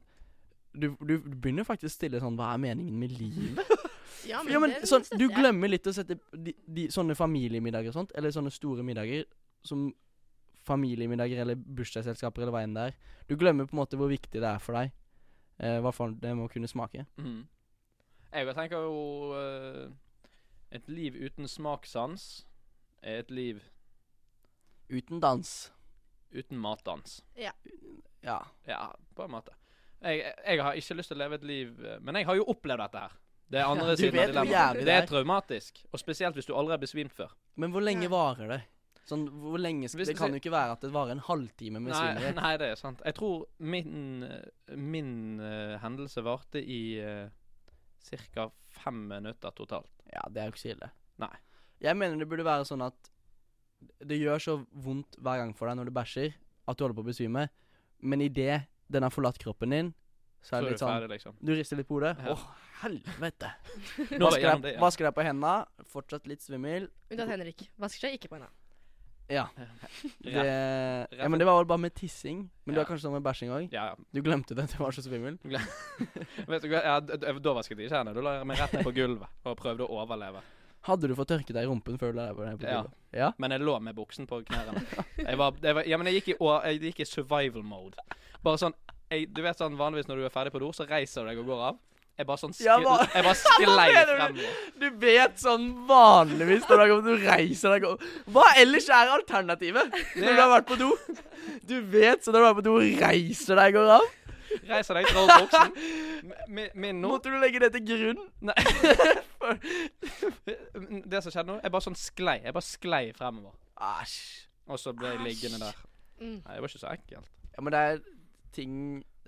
C: du, du begynner faktisk å stille sånn Hva er meningen med livet?
B: Ja,
C: Ja, men
B: det
C: sånn,
B: støtter
C: Du
B: jeg.
C: glemmer litt å sette de, de, sånne familiemiddager og sånt, eller sånne store middager som familiemiddager eller bursdagsselskaper eller hva enn det er. Du glemmer på en måte hvor viktig det er for deg. Eh, hva faen det må kunne smake.
A: Mm. Jeg tenker jo eh, Et liv uten smakssans er et liv
C: Uten dans.
A: uten matdans.
C: Ja.
A: Ja, på en måte. Jeg, jeg har ikke lyst til å leve et liv eh, Men jeg har jo opplevd dette her. Det er andre
C: Ja, du
A: siden av
C: vet hvor
A: dilemmaet.
C: jævlig
A: Det
C: det
A: er
C: er.
A: traumatisk. Og spesielt hvis du aldri har besvimt før.
C: Men hvor lenge
B: Ja.
C: varer det? Sånn, hvor lenge skal,
A: Hvis
C: Det
A: du
C: kan
A: sier-
C: jo ikke være at det varer en halvtime med
A: Nei,
C: svineri.
A: nei, det er sant. Jeg tror min, eh, min eh, hendelse varte i uh, ca. fem minutter totalt.
C: Ja, det er jo ikke så ille.
A: Nei.
C: Jeg mener det burde være sånn at det gjør så vondt hver gang for deg når du bæsjer, at du holder på å besvime, men idet den har forlatt kroppen din, så
A: Så
C: er
A: er
C: det
A: du
C: litt sånn
A: ferdig, liksom.
C: Du rister litt på hodet.
A: Ja.
C: Å, helvete.
A: Nå er det
C: Vasker
A: gjennom
C: deg,
A: det, ja.
C: vasker deg på henda, fortsatt litt svimmel.
B: Unntatt Henrik. Vasker seg ikke på henne.
C: Det,
A: Ja,
C: ja, men det var vel bare med tissing. Men du
A: Ja.
C: har kanskje sånn med bæsjing òg?
A: ja.
C: Du glemte det, du var så svimmel.
A: Vet du hva, ja, d- d- da vasket jeg ikke hendene. Da la jeg meg rett ned på gulvet og prøvde å overleve.
C: Hadde du fått tørket deg i rumpen før du la deg på deg? på
A: Ja.
C: gulvet? ja.
A: Men jeg lå med buksen på knærne. Jeg var, jeg var, ja, men jeg gikk, i, å- jeg gikk i survival mode. Bare sånn jeg, Du vet sånn vanligvis når du er ferdig på do, så reiser du deg og går av. Jeg bare sånn
C: Ja,
A: skli,
C: hva-
A: Jeg bare sklei
C: mener du?
A: fremover.
C: Du vet sånn vanligvis når du har kommet- du reiser deg og Hva ellers er alternativet når du har vært på do? Du vet sånn når du har vært på do, reiser deg og går av.
A: Reiser deg, drar opp buksen. Mi- mi- Min nå
C: Måtte du legge det til grunn?
A: Det som skjedde nå, jeg bare sånn sklei. Jeg bare sklei fremover.
C: Æsj.
A: Og så ble jeg liggende der.
B: Mm.
A: Nei, det var ikke så ekkelt.
C: Ja, men det er ting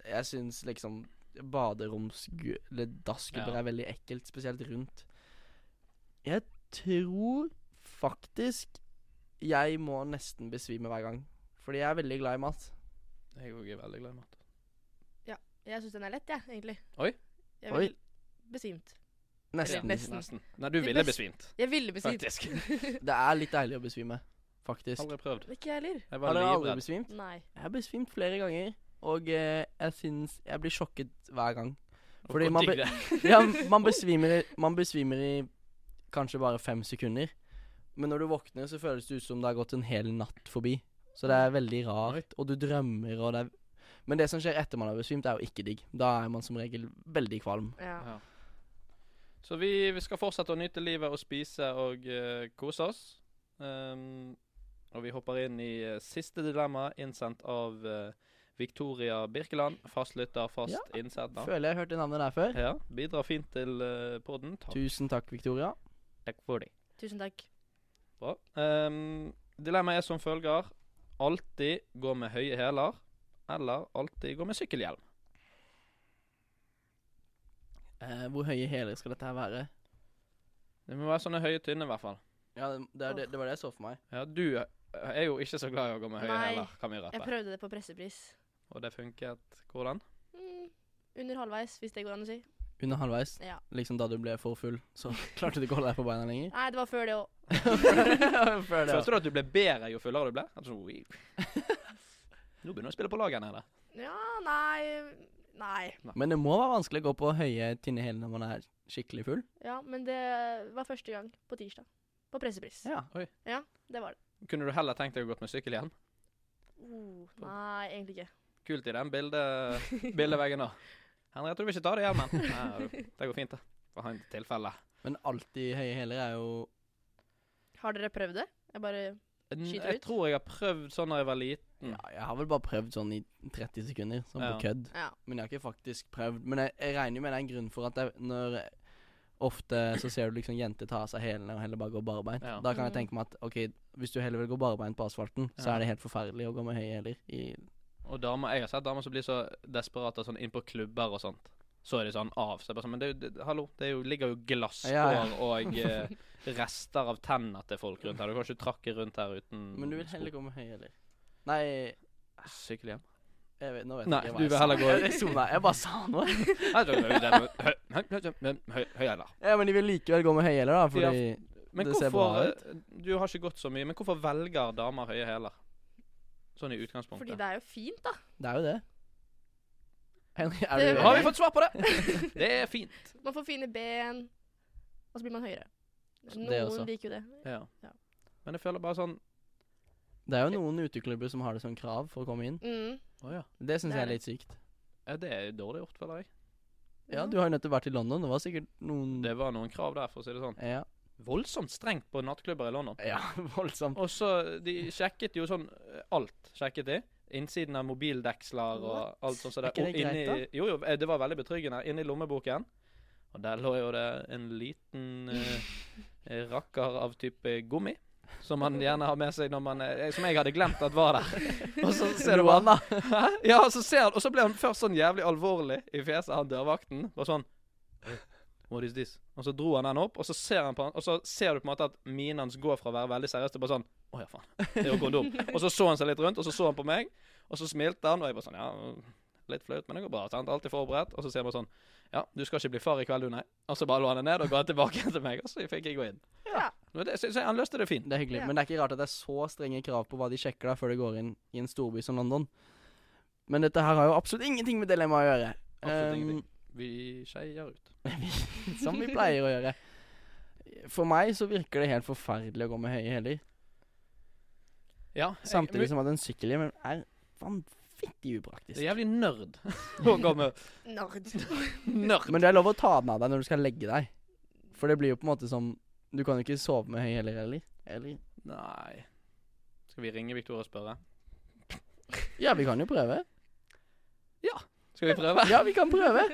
C: jeg syns liksom Baderomsgu... Eller dassgubber
A: Ja.
C: er veldig ekkelt, spesielt rundt. Jeg tror faktisk jeg må nesten besvime hver gang. Fordi jeg er veldig glad i mat.
A: Jeg òg er veldig glad i mat.
B: Jeg syns den er lett, jeg, egentlig.
A: Oi.
B: Jeg
C: Oi.
B: ville besvimt.
C: Nesten.
B: Altså, Nesten.
A: Nesten. Nei, du
B: Det
A: ville
B: best-
A: besvimt.
B: Jeg ville besvimt.
A: Faktisk.
C: Det er litt deilig å besvime, faktisk.
A: Aldri prøvd.
B: Ikke jeg heller.
A: Jeg
C: Har
A: var
C: du aldri
A: livredd.
C: besvimt?
B: Nei.
C: Jeg har besvimt flere ganger, og eh, jeg syns Jeg blir sjokket hver gang.
A: Og
C: Fordi
A: hvor
C: man
A: digg
C: be-
A: det er.
C: Ja, man besvimer, i- man besvimer i kanskje bare fem sekunder. Men når du våkner, så føles det ut som det har gått en hel natt forbi. Så det er veldig rart, og du drømmer, og det er Men det som skjer etter man har besvimt, er jo ikke digg. Da er man som regel veldig kvalm.
B: Ja.
A: Ja. Så vi, vi skal fortsette å nyte livet og spise og eh, kose oss. Ehm, og vi hopper inn i eh, siste dilemma, innsendt av eh, Victoria Birkeland. Fastlytter, fast
C: Ja.
A: innsetter.
C: Føler jeg har hørt det navnet der før.
A: Ja, bidrar fint til uh, poden. Takk
C: Tusen takk, Victoria.
A: for det.
B: Tusen takk.
A: Bra. Ehm, dilemmaet er som følger. Alltid gå med høye hæler, eller alltid gå med sykkelhjelm.
C: Eh, hvor høye hæler skal dette her være?
A: Det må være sånne høye, tynne i hvert fall.
C: Ja, det, det, det, det var det jeg så for meg.
A: Ja, du eh, er jo ikke så glad i å gå med høye
B: Nei.
A: hæler, kan vi
B: Jeg
A: rette.
B: prøvde det på pressepris.
A: Og det funket hvordan?
B: Mm, under halvveis, hvis det går an å si.
C: Under halvveis,
B: Ja.
C: liksom da du ble for full, så klarte du ikke å holde deg på beina lenger.
B: Nei, det var før det òg.
C: Før det,
A: Følte du at du ble bedre jo fullere du ble? Altså, oi. Nå begynner du å spille på lag her nede.
B: Ja, nei Nei.
C: ja. Men det må være vanskelig å gå på høye, tynne hæler når man er skikkelig full.
B: Ja, men det var første gang på tirsdag. På pressepris.
C: Ja.
B: Det var det.
A: Kunne du heller tenkt deg å gått med sykkel igjen?
B: Oh, nei, egentlig ikke.
A: Kult i den bilde, bildeveggen da. Henriette, du vil ikke ta det hjelmen? Nei, det går fint, det. For han tilfelle.
C: Men alltid høye hæler er jo
B: Har dere prøvd det? Jeg bare Skyter
A: Jeg
B: ut.
A: tror jeg har prøvd sånn da jeg var liten. Mm.
C: ja, Jeg har vel bare prøvd sånn i 30 sekunder, sånn på
A: Ja.
C: kødd.
B: Ja.
C: Men jeg har ikke faktisk prøvd. Men jeg, jeg regner jo med det er en grunn for at jeg, når Ofte så ser du liksom jenter ta av seg hælene og heller bare gå barbeint.
A: Ja.
C: Da kan jeg
B: Mm.
C: tenke meg at ok, hvis du heller vil gå barbeint på asfalten, så
A: Ja.
C: er det helt forferdelig å gå med høye hæler i
A: Og damer, jeg har sett damer som blir så desperate og sånn inn på klubber og sånt. Så er de sånn av. Så jeg bare sånn, men det, er jo- det, hallo, det er jo, ligger jo glasskår
C: Ja, ja.
A: og eh, rester av tenner til folk rundt her. Du kan ikke trakke rundt her uten
C: Men du vil heller gå med høye hæler. Nei,
A: Sykkelhjelm.
C: jeg vet, nå vet
A: Nei,
C: jeg ikke
A: du
C: jeg
A: vil
C: sa.
A: heller gå-
C: Jeg sona. Jeg bare sa noe.
A: Nei, det- det- det- hø- hø- hø- hø- hø- Høyhæler.
C: Ja, Men de vil likevel gå med høye hæler, da, fordi
A: Men
C: Det ser
A: hvorfor
C: bra
A: eh, Du har ikke gått så mye, men hvorfor velger damer høye hæler? Sånn i utgangspunktet.
B: Fordi det er jo fint, da.
C: Det er jo det. Henry, er
B: Det-
C: du
A: Har vi fått svar på det? Det er fint.
B: Man får fine ben, og så blir man høyere.
C: Det også.
B: Noen liker jo det.
A: Ja.
B: Ja.
A: Men jeg føler bare sånn
C: Det er jo noen uteklubber som har det som krav for å komme inn.
B: Mm.
A: Å ja.
C: Det syns
B: Det
C: jeg
B: er
C: er litt sykt.
A: ja, Det er dårlig gjort, føler jeg.
C: Ja, du har jo nettopp vært i London. Det var sikkert noen
A: Det var noen krav der, for å si det sånn.
C: Ja.
A: Voldsomt strengt på nattklubber i London.
C: Ja, voldsomt.
A: Og så De sjekket jo sånn eh, alt. sjekket de. Innsiden av mobildeksler og
B: What?
A: alt sånt. som
C: Er
A: det.
C: ikke
A: Og
C: det greit,
A: inni, jo, jo, eh, det var veldig betryggende. Inni lommeboken. Og der lå jo det en liten eh, rakker av type gummi. Som man gjerne har med seg når man er, eh, Som jeg hadde glemt at var der. Og så ser du
C: Lo han,
A: bare
C: da.
A: Hæ? Ja, og så ser han Og så ble han først sånn jævlig alvorlig i fjeset, han dørvakten. Bare sånn What is this? Og så dro han den opp, og så ser han på han Og så ser du på en måte at minen hans går fra å være veldig seriøs til bare sånn Å ja, faen. Det er jo kondom. og så så han seg litt rundt, og så så han på meg, og så smilte han, og jeg bare sånn Ja, litt flaut, men det går bra. Sant? Alltid forberedt. Og så sier han bare sånn Ja, du skal ikke bli far i kveld, du, nei. Og så bare lå han det ned og ga tilbake til meg, og så fikk jeg gå inn.
B: Ja.
A: Men det, så, så han løste det fint.
C: Det er hyggelig.
B: Ja.
C: Men det er ikke rart at det er så strenge krav på hva de sjekker da før det går inn i en storby som London. Men dette her har jo absolutt ingenting med dilemmaet å gjøre.
A: Absolutt
C: Um,
A: ingenting. Vi skeier ut.
C: som vi pleier å gjøre. For meg så virker det helt forferdelig å gå med høye hæler.
A: Ja. jeg-
C: Samtidig som at en sykkelhjelm er vanvittig upraktisk.
A: Eh, Det er jævlig nerd å gå med
B: Nard.
A: nerd.
C: Men det er lov å ta den av deg når du skal legge deg. For det blir jo på en måte som Du kan jo ikke sove med høye hæler heller. Eller
A: Nei. Skal vi ringe Victoria og spørre?
C: Ja, vi kan jo prøve.
A: Skal vi prøve?
C: Ja, vi kan prøve.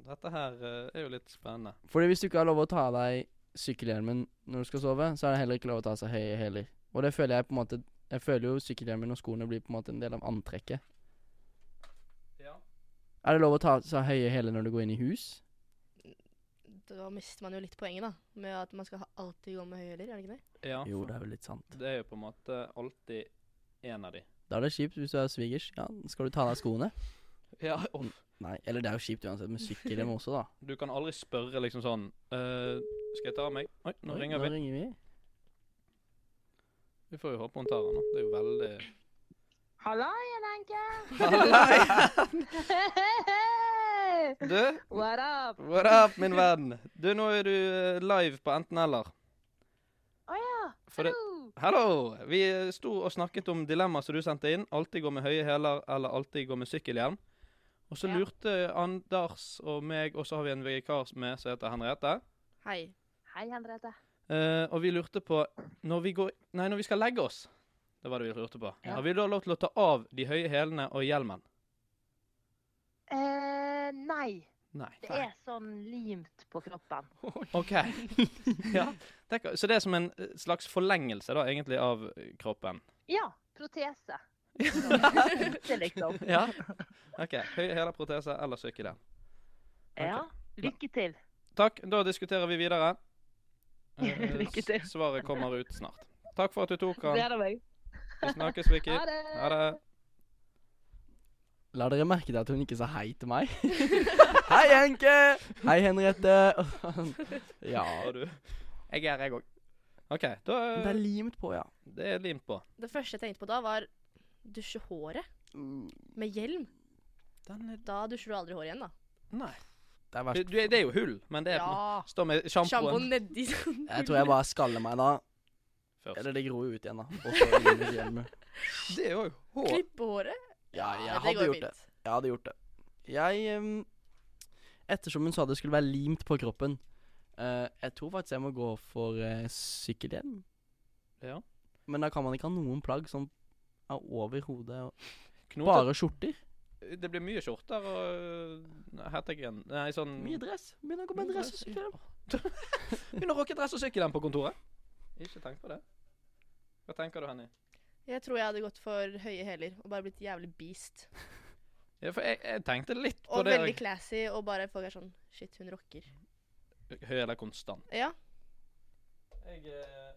A: Dette her eh, er jo litt spennende.
C: Fordi hvis du ikke har lov å ta av deg sykkelhjelmen når du skal sove, så er det heller ikke lov å ta av seg høye hæler. Og det føler jeg på en måte Jeg føler jo sykkelhjelmen og skoene blir på en måte en del av antrekket.
A: Ja.
C: Er det lov å ta av seg høye hæler når du går inn i hus?
B: Da mister man jo litt poenget, da. Med at man skal ha- alltid gå med høye hæler, er det ikke det?
C: Jo, det er vel litt sant.
A: Det er jo på en måte alltid en av de.
C: Da er det kjipt hvis du er svigers. Ja, skal du ta av deg skoene?
A: Ja,
C: Nei, eller det er jo kjipt uansett med sykkelhjelm også, da.
A: Du kan aldri spørre liksom sånn eh, Skal jeg ta av meg? Oi, nå
C: Oi,
A: ringer vi.
C: Nå ringer vi.
A: Vi får jo håpe hun tar den. da. Det er jo veldig
E: Hallo, Jan Anke.
A: Hallei!
E: Hei, hei.
A: Du,
E: What up?
A: what up, min venn? Du, nå er du eh, live på enten-eller.
E: Å ja.
A: For det-
E: hallo.
A: Hallo! Vi eh, sto og snakket om dilemmaet som du sendte inn. Alltid gå med høye hæler eller alltid gå med sykkelhjelm. Og så
E: Ja.
A: lurte Anders og meg, og så har vi en vikar med som heter Henriette.
B: Hei.
E: Hei, Henriette.
A: Eh, og vi lurte på når vi, går, nei, når vi skal legge oss. Det var det vi lurte på.
C: Ja.
A: Har vi da lov til å ta av de høye hælene og hjelmen?
E: Eh, nei.
A: Nei.
E: Det er sånn limt på kroppen.
A: OK. ja. det kan- Så det er som en eh, slags forlengelse, da, egentlig, av eh, kroppen?
E: Ja. Protese. Limt, liksom.
A: Ja. OK. Høye hæler, protese eller sykkelhjelm.
E: Ja. Lykke til.
A: Takk. Da diskuterer vi videre. Eh,
E: Lykke til.
A: s- Svaret kommer ut snart. Takk for at du tok han.
E: Gleder meg.
A: Vi snakkes, Vicky.
E: Ha det.
A: Ha det.
C: La dere merke til at hun ikke sa hei til meg. hei, Henke! Hei, Henriette. ja.
A: Ha du. Jeg er her, jeg òg. OK. Da
C: Men det
A: eh,
C: er limt på, ja.
A: Det er limt på.
B: Det første jeg tenkte på da, var dusje håret med hjelm.
A: Den er
B: Da dusjer du aldri håret igjen, da.
A: Nei.
C: Det er
A: Du,
C: verst.
A: du, det er jo hull, men det er
B: Ja.
A: Står med sjampoen
B: Sjampoen nedi sånn.
C: Jeg tror jeg bare skaller meg, da.
A: først.
C: Eller det gror jo ut igjen, da. Og så limet hjelmen.
A: Det er jo hår.
B: Klippe håret.
C: Ja,
B: Ja,
C: jeg
B: det
C: hadde
B: går
C: gjort det.
B: fint.
C: Jeg hadde gjort det. Jeg ehm, Ettersom hun sa det skulle være limt på kroppen, eh, jeg tror faktisk jeg må gå for uh, sykkelhjelm.
A: Ja.
C: Men da kan man ikke ha noen plagg som er over hodet. og-
A: Knoter.
C: Bare skjorter.
A: Det blir mye skjorter og øh, hettegren. Nei, sånn
C: Mm. Mye dress. Begynner å gå med
A: Mye
C: dress og
A: dress,
C: sykkelhjelm.
A: Begynner å rocke dress og sykkelhjelm på kontoret. Ikke tenk på det. Hva tenker du, Henny?
B: Jeg tror jeg hadde gått for høye hæler og bare blitt jævlig beast.
A: Ja, for jeg, jeg tenkte litt på
B: Og
A: det.
B: veldig classy, og bare folk er sånn Shit, hun rocker.
A: Høy eller konstant.
B: Ja.
A: Jeg eh,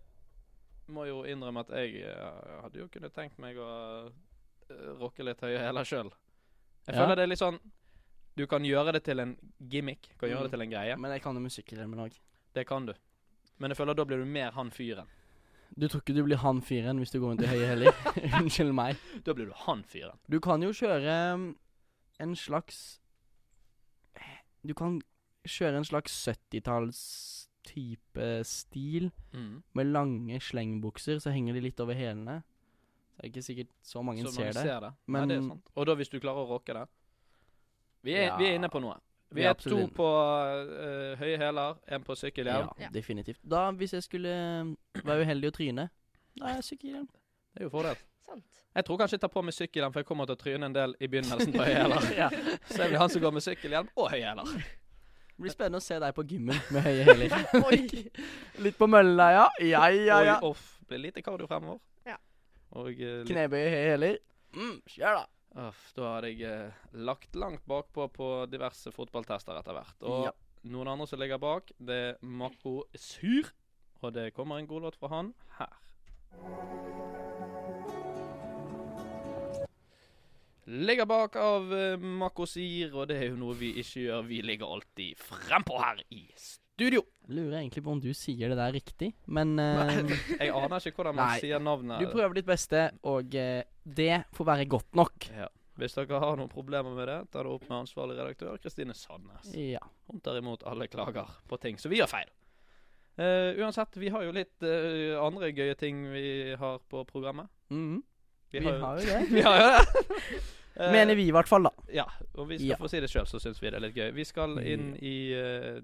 A: må jo innrømme at jeg eh, hadde jo kunnet tenkt meg å eh, rocke litt høye hæler sjøl. Jeg
C: Ja.
A: føler det er litt sånn Du kan gjøre det til en gimmick. Kan gjøre
C: Mm.
A: det til en greie.
C: Men jeg kan jo med sykkelhjelmen òg.
A: Det kan du. Men jeg føler da blir du mer han fyren.
C: Du tror ikke du blir han fyren hvis du går rundt i høye hæler? Unnskyld meg.
A: Da blir du han fyren.
C: Du kan jo kjøre mm, en slags Du kan kjøre en slags 70-talls-type stil med lange slengbukser, så henger de litt over hælene. Så er det ikke sikkert så mange
A: Så
C: ser
A: mange
C: det.
A: ser det.
C: Men-
A: Nei, det er sant. Og da hvis du klarer å rocke det. Vi er,
C: Ja.
A: vi er inne på noe. Vi
C: Ja,
A: er to
C: absolutt.
A: på eh, høye hæler, én på
C: Ja,
A: sykkelhjelm.
B: Ja.
C: definitivt. Da, hvis jeg skulle um, være uheldig og tryne Da er jeg sykkelhjelm.
A: Det er jo fordel.
B: Sant.
A: Jeg tror kanskje jeg tar på meg sykkelhjelm, for jeg kommer til å tryne en del i begynnelsen på høye hæler. Så jeg blir han som går med sykkelhjelm og høye hæler.
C: Det blir spennende å se deg på gymmen med høye hæler.
B: Oi.
C: litt på mølla, ja. Ja, ja, ja.
A: Oi, off. Blir lite kardio fremover.
B: Ja.
A: Og eh, litt
C: Knebøy i høye hæler. Mm, kjør, da.
A: Uff, Da hadde jeg eh, lagt langt bakpå på diverse fotballtester etter hvert. Og
C: Ja.
A: noen andre som ligger bak, det er Mako Syr. Og det kommer en god låt fra han her. Ligger bak av eh, Mako Syr, og det er jo noe vi ikke gjør. Vi ligger alltid frempå her i studio.
C: Lurer egentlig på om du sier det der riktig, men eh,
A: Jeg aner ikke hvordan man
C: Nei.
A: sier
C: Du
A: navnet.
C: prøver ditt beste, og eh, det får være godt nok.
A: Ja. Hvis dere har noen problemer med det, ta det opp med ansvarlig redaktør Kristine Sandnes.
C: Ja.
A: Hun tar imot alle klager på ting som vi gjør feil. Eh, uansett, vi har jo litt eh, andre gøye ting vi har på programmet.
C: Mhm. Vi har jo det.
A: vi har jo det. Eh,
C: Mener vi i hvert fall, da.
A: Ja, og vi skal
C: Ja.
A: få si det sjøl, så syns vi det er litt gøy. Vi skal inn i eh,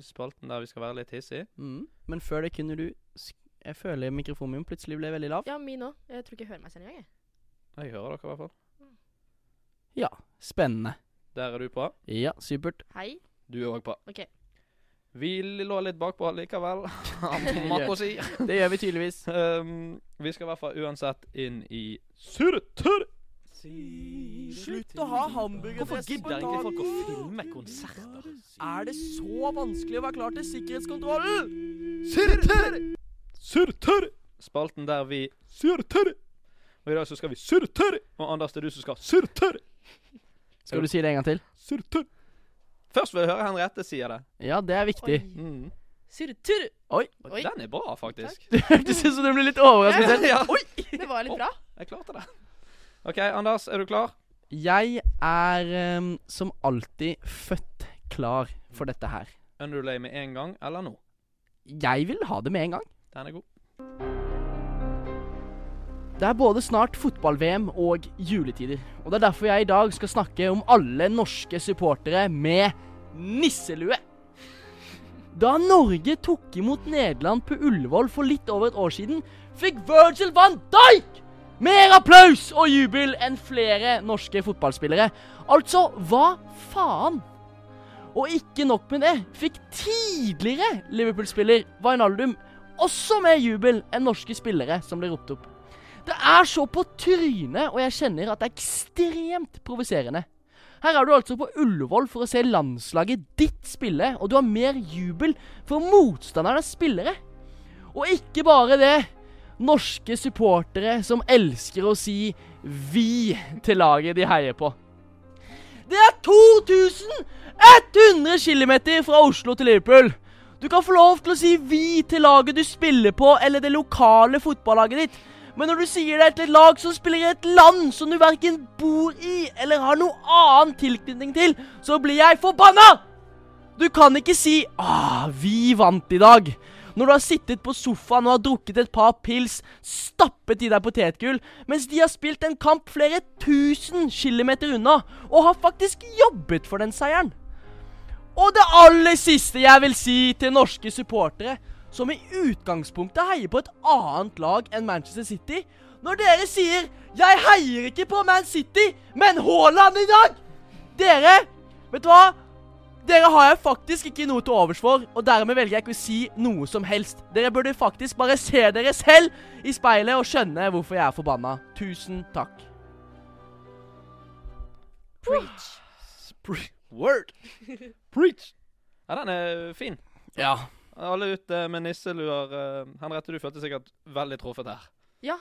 A: spalten der vi skal være litt hissige.
C: Mhm. Men før det kunne du sk Jeg føler mikrofonen min plutselig ble veldig lav.
B: Ja, min òg. Jeg tror ikke jeg hører meg selv engang. jeg.
A: Jeg hører dere i hvert fall.
C: Spennende.
A: Der er du på.
C: Ja, supert.
B: Hei.
A: Du er òg på.
B: Ok.
A: Vi lå litt bakpå likevel. Mako sier.
C: Det gjør vi tydeligvis.
A: Um, vi skal i hvert fall uansett inn i Surretur.
F: Slutt å ha hamburgerfest
C: Hvorfor gidder ikke folk å
A: filme konserter?
C: Er det så vanskelig å være klar til sikkerhetskontrollen?
A: Surretur! Surretur! Spalten der vi Surretur! Og i dag så skal vi surretur! Og Anders, det er du som skal surretur!
C: Skal du si det en gang til?
A: Surretur! Først vil jeg høre Henriette sier det. Mm.
C: Ja, det er viktig.
B: Oi. Surretur.
C: Oi.
B: Oi.
A: Den er bra, faktisk.
C: Det hørtes ut som du ble litt overrasket.
A: Ja.
B: Det var litt bra.
A: Jeg klarte det. OK, Anders, er du klar?
C: Jeg er ehm, som alltid født klar for dette her.
A: Underlay med en gang eller nå?
C: Jeg vil ha det med en gang.
A: Den er god.
C: Det er både snart fotball-VM og juletider. Og det er derfor jeg i dag skal snakke om alle norske supportere med nisselue. Da Norge tok imot Nederland på Ullevål for litt over et år siden, fikk Virgil van Dijk mer applaus og jubel enn flere norske fotballspillere. Altså, hva faen? Og ikke nok med det, fikk tidligere Liverpool-spiller Wijnaldum også mer jubel enn norske spillere som ble ropt opp. Det er så på trynet, og jeg kjenner at det er ekstremt provoserende. Her er du altså på Ullevål for å se landslaget ditt spille, og du har mer jubel for motstandernes spillere. Og ikke bare det. Norske supportere som elsker å si 'vi' til laget de heier på. Det er 2100 km fra Oslo til Liverpool. Du kan få lov til å si 'vi' til laget du spiller på, eller det lokale fotballaget ditt. Men når du sier det til et lag som spiller i et land som du verken bor i eller har noe annen tilknytning til, så blir jeg forbanna! Du kan ikke si 'ah, vi vant i dag'. Når du har sittet på sofaen og har drukket et par pils, stappet i deg potetgull, mens de har spilt en kamp flere tusen kilometer unna, og har faktisk jobbet for den seieren. Og det aller siste jeg vil si til norske supportere, som i utgangspunktet heier på et annet lag enn Manchester City, når dere sier 'Jeg heier ikke på Man City, men Haaland i dag', dere Vet du hva? Dere har jeg faktisk ikke noe til overs for, og dermed velger jeg ikke å si noe som helst. Dere burde faktisk bare se dere selv i speilet og skjønne hvorfor jeg er forbanna. Tusen takk.
B: Preach.
A: Pre Word. Preach. Ja, den er fin.
C: Ja.
A: Alle ute med nisseluer. eh, Henriette, du følte sikkert veldig truffet her.
B: Ja.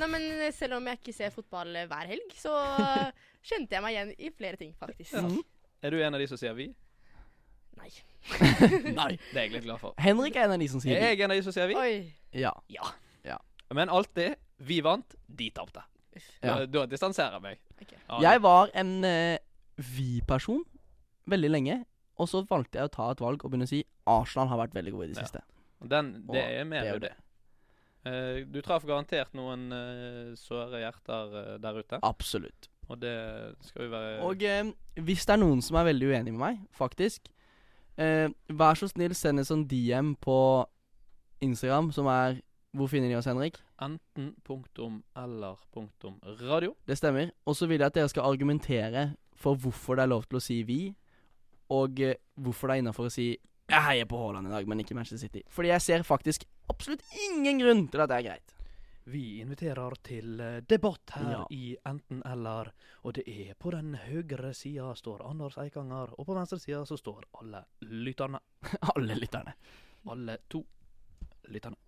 B: Nei, men selv om jeg ikke ser fotball eh, hver helg, så eh, kjente jeg meg igjen i flere ting, faktisk.
C: Mhm.
A: Er du en av de som sier vi?
B: Nei.
C: Nei.
A: Det er jeg litt glad for.
C: Henrik er en av de som sier
A: Er
C: det.
A: jeg en av de som sier vi?
B: Oi.
C: Ja.
A: Men alltid vi vant, de tapte. Eh,
C: Ja.
A: Da, da distanserer jeg meg.
B: Ok.
A: Ja,
C: Jeg var en eh, vi-person veldig lenge, og så valgte jeg å ta et valg og begynne å si Arsenal har vært veldig gode i det
A: Ja.
C: siste.
A: Den, det
C: Åh,
A: er mer
C: det er jo
A: det. Eh, du traff garantert noen eh, såre hjerter eh, der ute,
C: Absolutt.
A: og det skal vi være
C: Og eh, hvis det er noen som er veldig uenig med meg, faktisk, eh, vær så snill send en sånn DM på Instagram som er Hvor finner de oss, Henrik?
A: Enten punktum eller punktum radio.
C: Det stemmer. Og så vil jeg at dere skal argumentere for hvorfor det er lov til å si vi, og eh, hvorfor det er innafor å si jeg heier på Haaland i dag, men ikke Manchester City. Fordi jeg ser faktisk absolutt ingen grunn til at det er greit.
A: Vi inviterer til eh, debatt her
C: Ja.
A: i Enten eller, og det er på den høyre sida står Anders Eikanger, og på venstre sida så står alle lytterne.
C: Alle lytterne.
A: Alle to lytterne.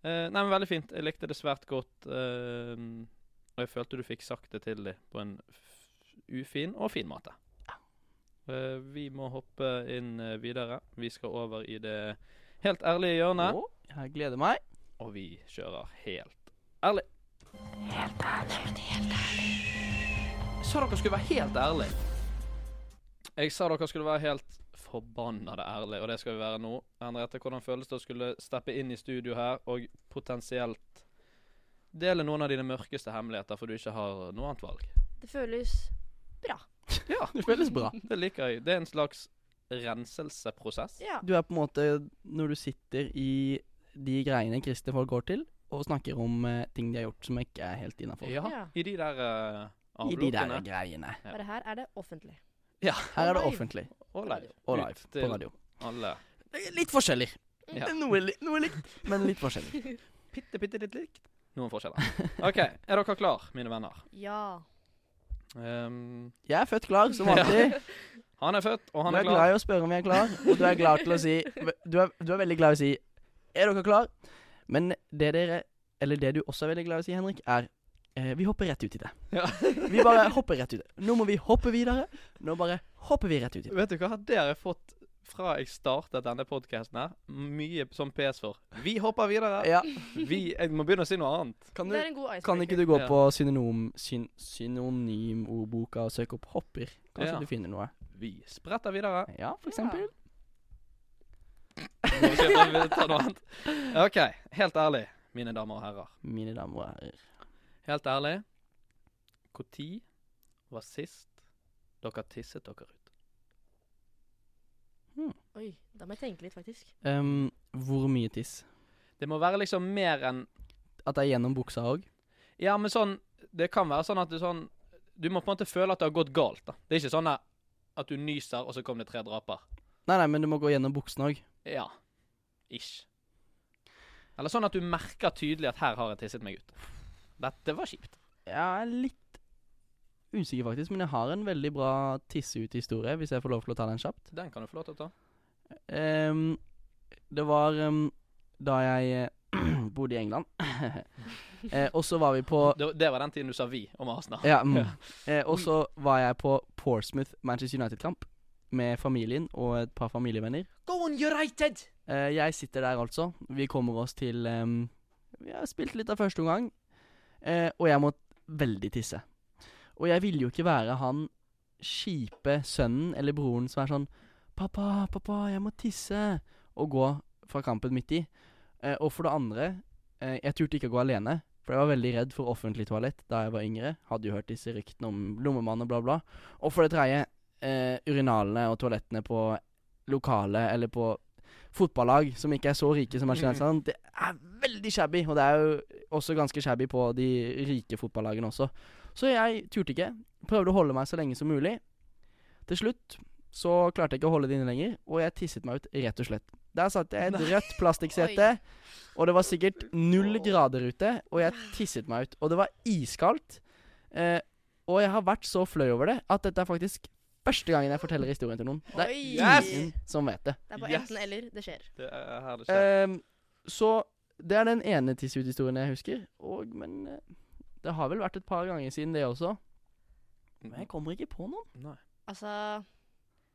A: Eh, nei, men veldig fint. Jeg likte det svært godt. eh, og jeg følte du fikk sagt det til dem på en f ufin og fin måte. Eh, vi må hoppe inn eh, videre. Vi skal over i det helt ærlige hjørnet.
C: Å, jeg gleder meg.
A: Og vi kjører helt ærlig. Helt ærlig. Helt ærlig. Sa dere skulle være helt ærlig. Jeg sa dere skulle være helt forbanna ærlig, og det skal vi være nå. Henriette, hvordan føles det å skulle steppe inn i studio her og potensielt dele noen av dine mørkeste hemmeligheter, for du ikke har noe annet valg?
B: Det føles bra.
A: Ja,
C: Det føles bra.
A: det liker jeg. Det er en slags renselseprosess.
B: Ja.
C: Du er på en måte Når du sitter i de greiene kristne folk går til, og snakker om eh, ting de har gjort som ikke er helt innafor.
A: Ja,
B: Ja.
A: i de der uh,
C: I de der
A: avlukkene.
C: greiene.
B: Bare her er det offentlig.
C: Her er det
B: live.
C: offentlig.
A: Og live.
C: Og
A: Ut
C: live. På
A: til
C: radio.
A: Alle.
C: Litt forskjeller.
A: Ja.
C: Noe, li noe likt, men litt forskjeller.
A: bitte, bitte litt likt. Noen forskjeller. OK, er dere klar, mine venner?
B: Ja.
A: Ehm,
C: Jeg er født klar, som alltid.
A: han er født, og
C: Du
A: han
C: er
A: er klar.
C: glad i å spørre om jeg er klar, og du er glad til å si Du er, du er veldig glad i å si 'Er dere klar?' Men det dere Eller det du også er veldig glad i å si, Henrik, er eh, Vi hopper rett ut i det.
A: Ja.
C: Vi bare hopper rett ut i det. Nå må vi hoppe videre. Nå bare hopper vi rett ut i det.
A: Vet du hva, det har jeg fått
G: fra jeg startet denne podkasten her, mye som PS for. Vi hopper videre.
C: Ja,
G: Vi, jeg må begynne å si noe annet.
C: kan,
B: Det
C: du,
B: er en god icebreaker.
C: kan ikke du gå
G: Ja.
C: på synonym, syn, synonymordboka og søke opp hopper? Kanskje
G: Ja.
C: du finner noe?
G: Vi spretter videre.
C: Ja, for eksempel.
G: Må vi se om vi tar noe annet. OK, helt ærlig, mine damer og herrer.
C: Mine damer og herrer.
G: Helt ærlig. Når var sist dere tisset dere ut?
B: Oi, da må jeg tenke litt, faktisk.
C: Ehm, hvor mye tiss?
G: Det må være liksom mer enn
C: At det er gjennom buksa òg?
G: Ja, men sånn Det kan være sånn at du sånn Du må på en måte føle at det har gått galt. da Det er ikke sånn der at du nyser, og så kom det tre draper.
C: Nei, nei, men det må gå gjennom buksen òg.
G: Ja. Ish. Eller sånn at du merker tydelig at her har jeg tisset meg ut. Dette var kjipt.
C: Jeg er litt usikker, faktisk, men jeg har en veldig bra tisse-ut-historie, hvis jeg får lov til å ta den kjapt.
G: Den kan du få lov til å ta.
C: Ehm, det var ehm, da jeg eh, bodde i England. Eh, og så var vi på
G: Det, det var den tiden du sa 'vi' om Arsenal.
C: Ja. Mm. Eh, og så var jeg på Porsmouth Manchester United-kamp med familien og et par familievenner.
G: Go on, United!
C: Eh, jeg sitter der, altså. Vi kommer oss til ehm, Vi har spilt litt av første omgang, eh, og jeg må veldig tisse. Og jeg ville jo ikke være han kjipe sønnen eller broren som er sånn 'Pappa, pappa, jeg må tisse.' Og gå fra kampen midt i. Eh, og for det andre, eh, jeg turte ikke å gå alene, for jeg var veldig redd for offentlig toalett da jeg var yngre. Hadde jo hørt disse ryktene om lommemann og bla, bla. Og for det tredje, eh, urinalene og toalettene på lokale eller på fotballag som ikke er så rike som Manchester United, sånn, det er veldig shabby. Og det er jo også ganske shabby på de rike fotballagene også. Så jeg turte ikke. Prøvde å holde meg så lenge som mulig. Til slutt så klarte jeg ikke å holde det inne lenger, og jeg tisset meg ut, rett og slett. Der satt jeg i et rødt plastikksete, og det var sikkert null grader ute, og jeg tisset meg ut. Og det var iskaldt. Eh, og jeg har vært så fløy over det at dette er faktisk første gangen jeg forteller historien til noen. Det er
B: Oi.
C: ingen som vet det.
B: Det er på
G: Yes.
B: enten eller. Det skjer.
G: Det er her det skjer.
C: Ehm, så det er den ene tisseuthistorien jeg husker. Og, men eh, det har vel vært et par ganger siden det også.
G: Eh,
C: Men jeg kommer ikke på noen.
G: Nei.
B: Altså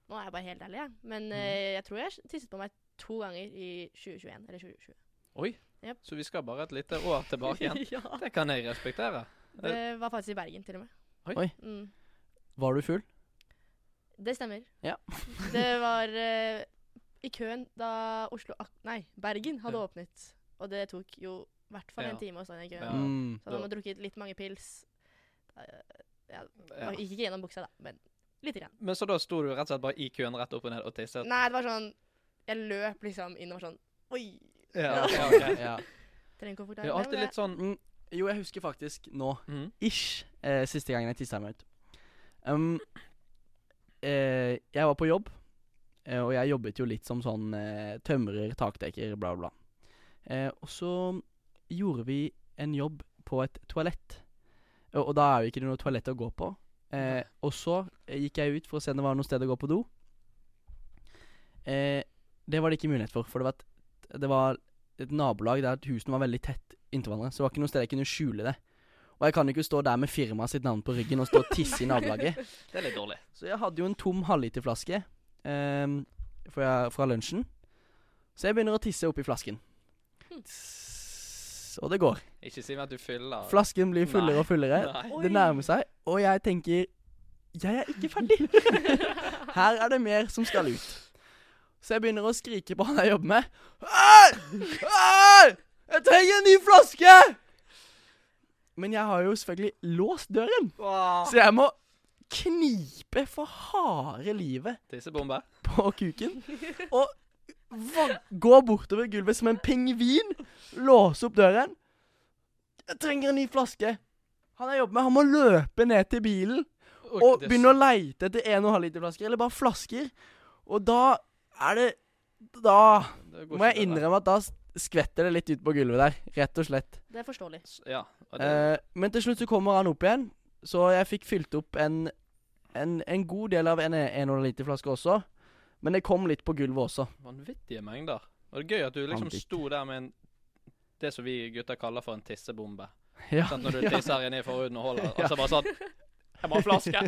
B: Nå er jeg bare helt ærlig, jeg.
G: Mhm.
B: Men eh, jeg tror jeg tisset på meg to ganger i 2021 eller 2020.
G: Så vi skal bare et lite år tilbake igjen.
B: ja.
G: Det kan jeg respektere.
B: Det var faktisk i Bergen, til og med.
G: Eh. Oi.
C: Oi.
B: Mm.
C: Var du full?
B: Det stemmer.
C: Ja.
B: det var eh, i køen da Oslo ak Nei, Bergen hadde
G: Ja.
B: åpnet. Og det tok jo i hvert fall
G: Ja.
B: en time å stå i den køen.
G: Ja.
C: Mm.
B: Så hadde man drukket litt mange pils. Eh,
G: Ja.
B: Gikk ikke gjennom buksa, da, men lite grann.
G: Men så da sto du rett og slett bare i køen rett opp og ned og tisset?
B: Nei, det var sånn Jeg løp liksom inn og var sånn Oi!
G: Ja, ja, ok.
C: Ja.
B: Trenger ikke å
G: Det er
B: forklare
G: alltid litt sånn
C: Mm, jo, jeg husker faktisk nå,
G: Mhm.
C: ish, eh, siste gangen jeg tissa meg ut. Um, eh, jeg var på jobb, eh, og jeg jobbet jo litt som sånn eh, tømrer, takdekker, bla, bla. Eh, og så gjorde vi en jobb på et toalett. Og, og da er jo ikke det noe toalett å gå på. Eh, og så gikk jeg ut for å se om det var noe sted å gå på do. Eh, det var det ikke mulighet for, for det var et, det var et nabolag der husene var veldig tett inntil hverandre. Så det var ikke noe sted jeg kunne skjule det. Og jeg kan jo ikke stå der med firmaet sitt navn på ryggen og stå og tisse i nabolaget.
G: Det er litt dårlig.
C: Så jeg hadde jo en tom halvliterflaske eh, fra, fra lunsjen. Så jeg begynner å tisse oppi flasken. Tss, Og det går.
G: Ikke si meg at du fyller.
C: Flasken blir fullere
G: Nei.
C: og fullere.
G: Nei.
C: Det nærmer seg, og jeg tenker Jeg er ikke ferdig. Her er det mer som skal ut. Så jeg begynner å skrike på han jeg jobber med. Hei! Hei! Jeg trenger en ny flaske! Men jeg har jo selvfølgelig låst døren, så jeg må knipe for harde livet
G: Tissebombe.
C: på kuken og va- gå bortover gulvet som en pingvin, låse opp døren. Jeg trenger en ny flaske. Han jeg jobber med, han må løpe ned til bilen og begynne å leite etter 1,5 liter flasker, eller bare flasker. Og da er det Da må jeg innrømme at da s- skvetter det litt ut på gulvet der, rett og slett.
B: Det er forståelig.
G: Ja. og det-
C: Eh, men til slutt så kommer han opp igjen, så jeg fikk fylt opp en, en, en god del av en 1,5 liter flaske også. Men det kom litt på gulvet også.
G: Vanvittige mengder. Og det er gøy at du liksom
C: Vanvittig.
G: sto der med en det som vi gutter kaller for en tissebombe.
C: Ja.
G: Sant, når du tisser inni forhuden og holder, og så bare sånn Jeg må ha flaske.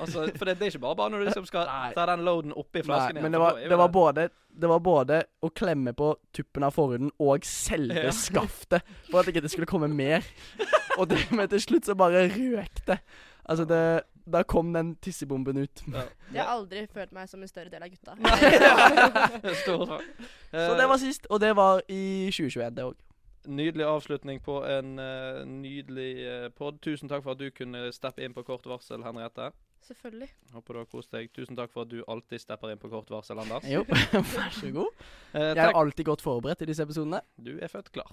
G: altså, for det, det er ikke bare bare når du liksom skal
C: Nei.
G: ta den loaden oppi
C: Nei,
G: flasken. igjen,
C: men det
G: for
C: var,
G: da er jo
C: det, var både, det var både å klemme på tuppen av forhuden og selve
G: Ja.
C: skaftet for at ikke det skulle komme mer. Og det, men til slutt så bare røk det. Altså, det, da kom den tissebomben ut.
B: Jeg har aldri følt meg som en større del av gutta.
G: Nei. Stor-
C: Så
G: Eh,
C: det var sist, og det var i 2021, det òg.
G: Nydelig avslutning på en eh, nydelig uh, pod. Tusen takk for at du kunne steppe inn på kort varsel, Henriette.
B: Selvfølgelig.
G: Håper du har kost deg. Tusen takk for at du alltid stepper inn på kort varsel, Anders.
C: Jo, vær så god.
G: Eh,
C: Jeg er
G: tek-
C: alltid godt forberedt i disse episodene.
G: du er født klar.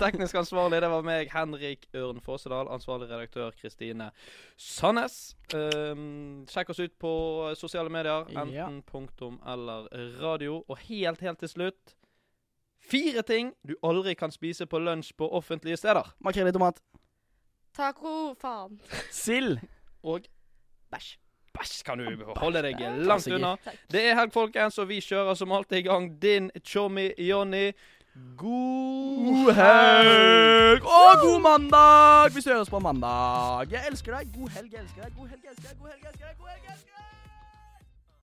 G: Teknisk ansvarlig, det var meg, Henrik Ørn Fåsedal. Ansvarlig redaktør, Kristine Sandnes. Um, sjekk oss ut på sosiale medier, enten
C: Ja.
G: punktum eller radio. Og helt, helt til slutt Fire ting du aldri kan spise på lunsj på offentlige steder.
C: Makrell i tomat.
B: Taco, faen.
C: Sild.
G: Og
B: Bæsj.
G: bæsj kan du holde deg langt
C: Klassiker.
G: unna. Det er helg, folkens, og vi kjører som alltid i gang din chommy Johnny. God helg!
C: Og god mandag! Vi høres på mandag. Jeg elsker deg. God helg, jeg elsker deg. God helg, jeg elsker deg. God helg, jeg elsker deg. God helg, jeg elsker deg. God helg, jeg elsker deg.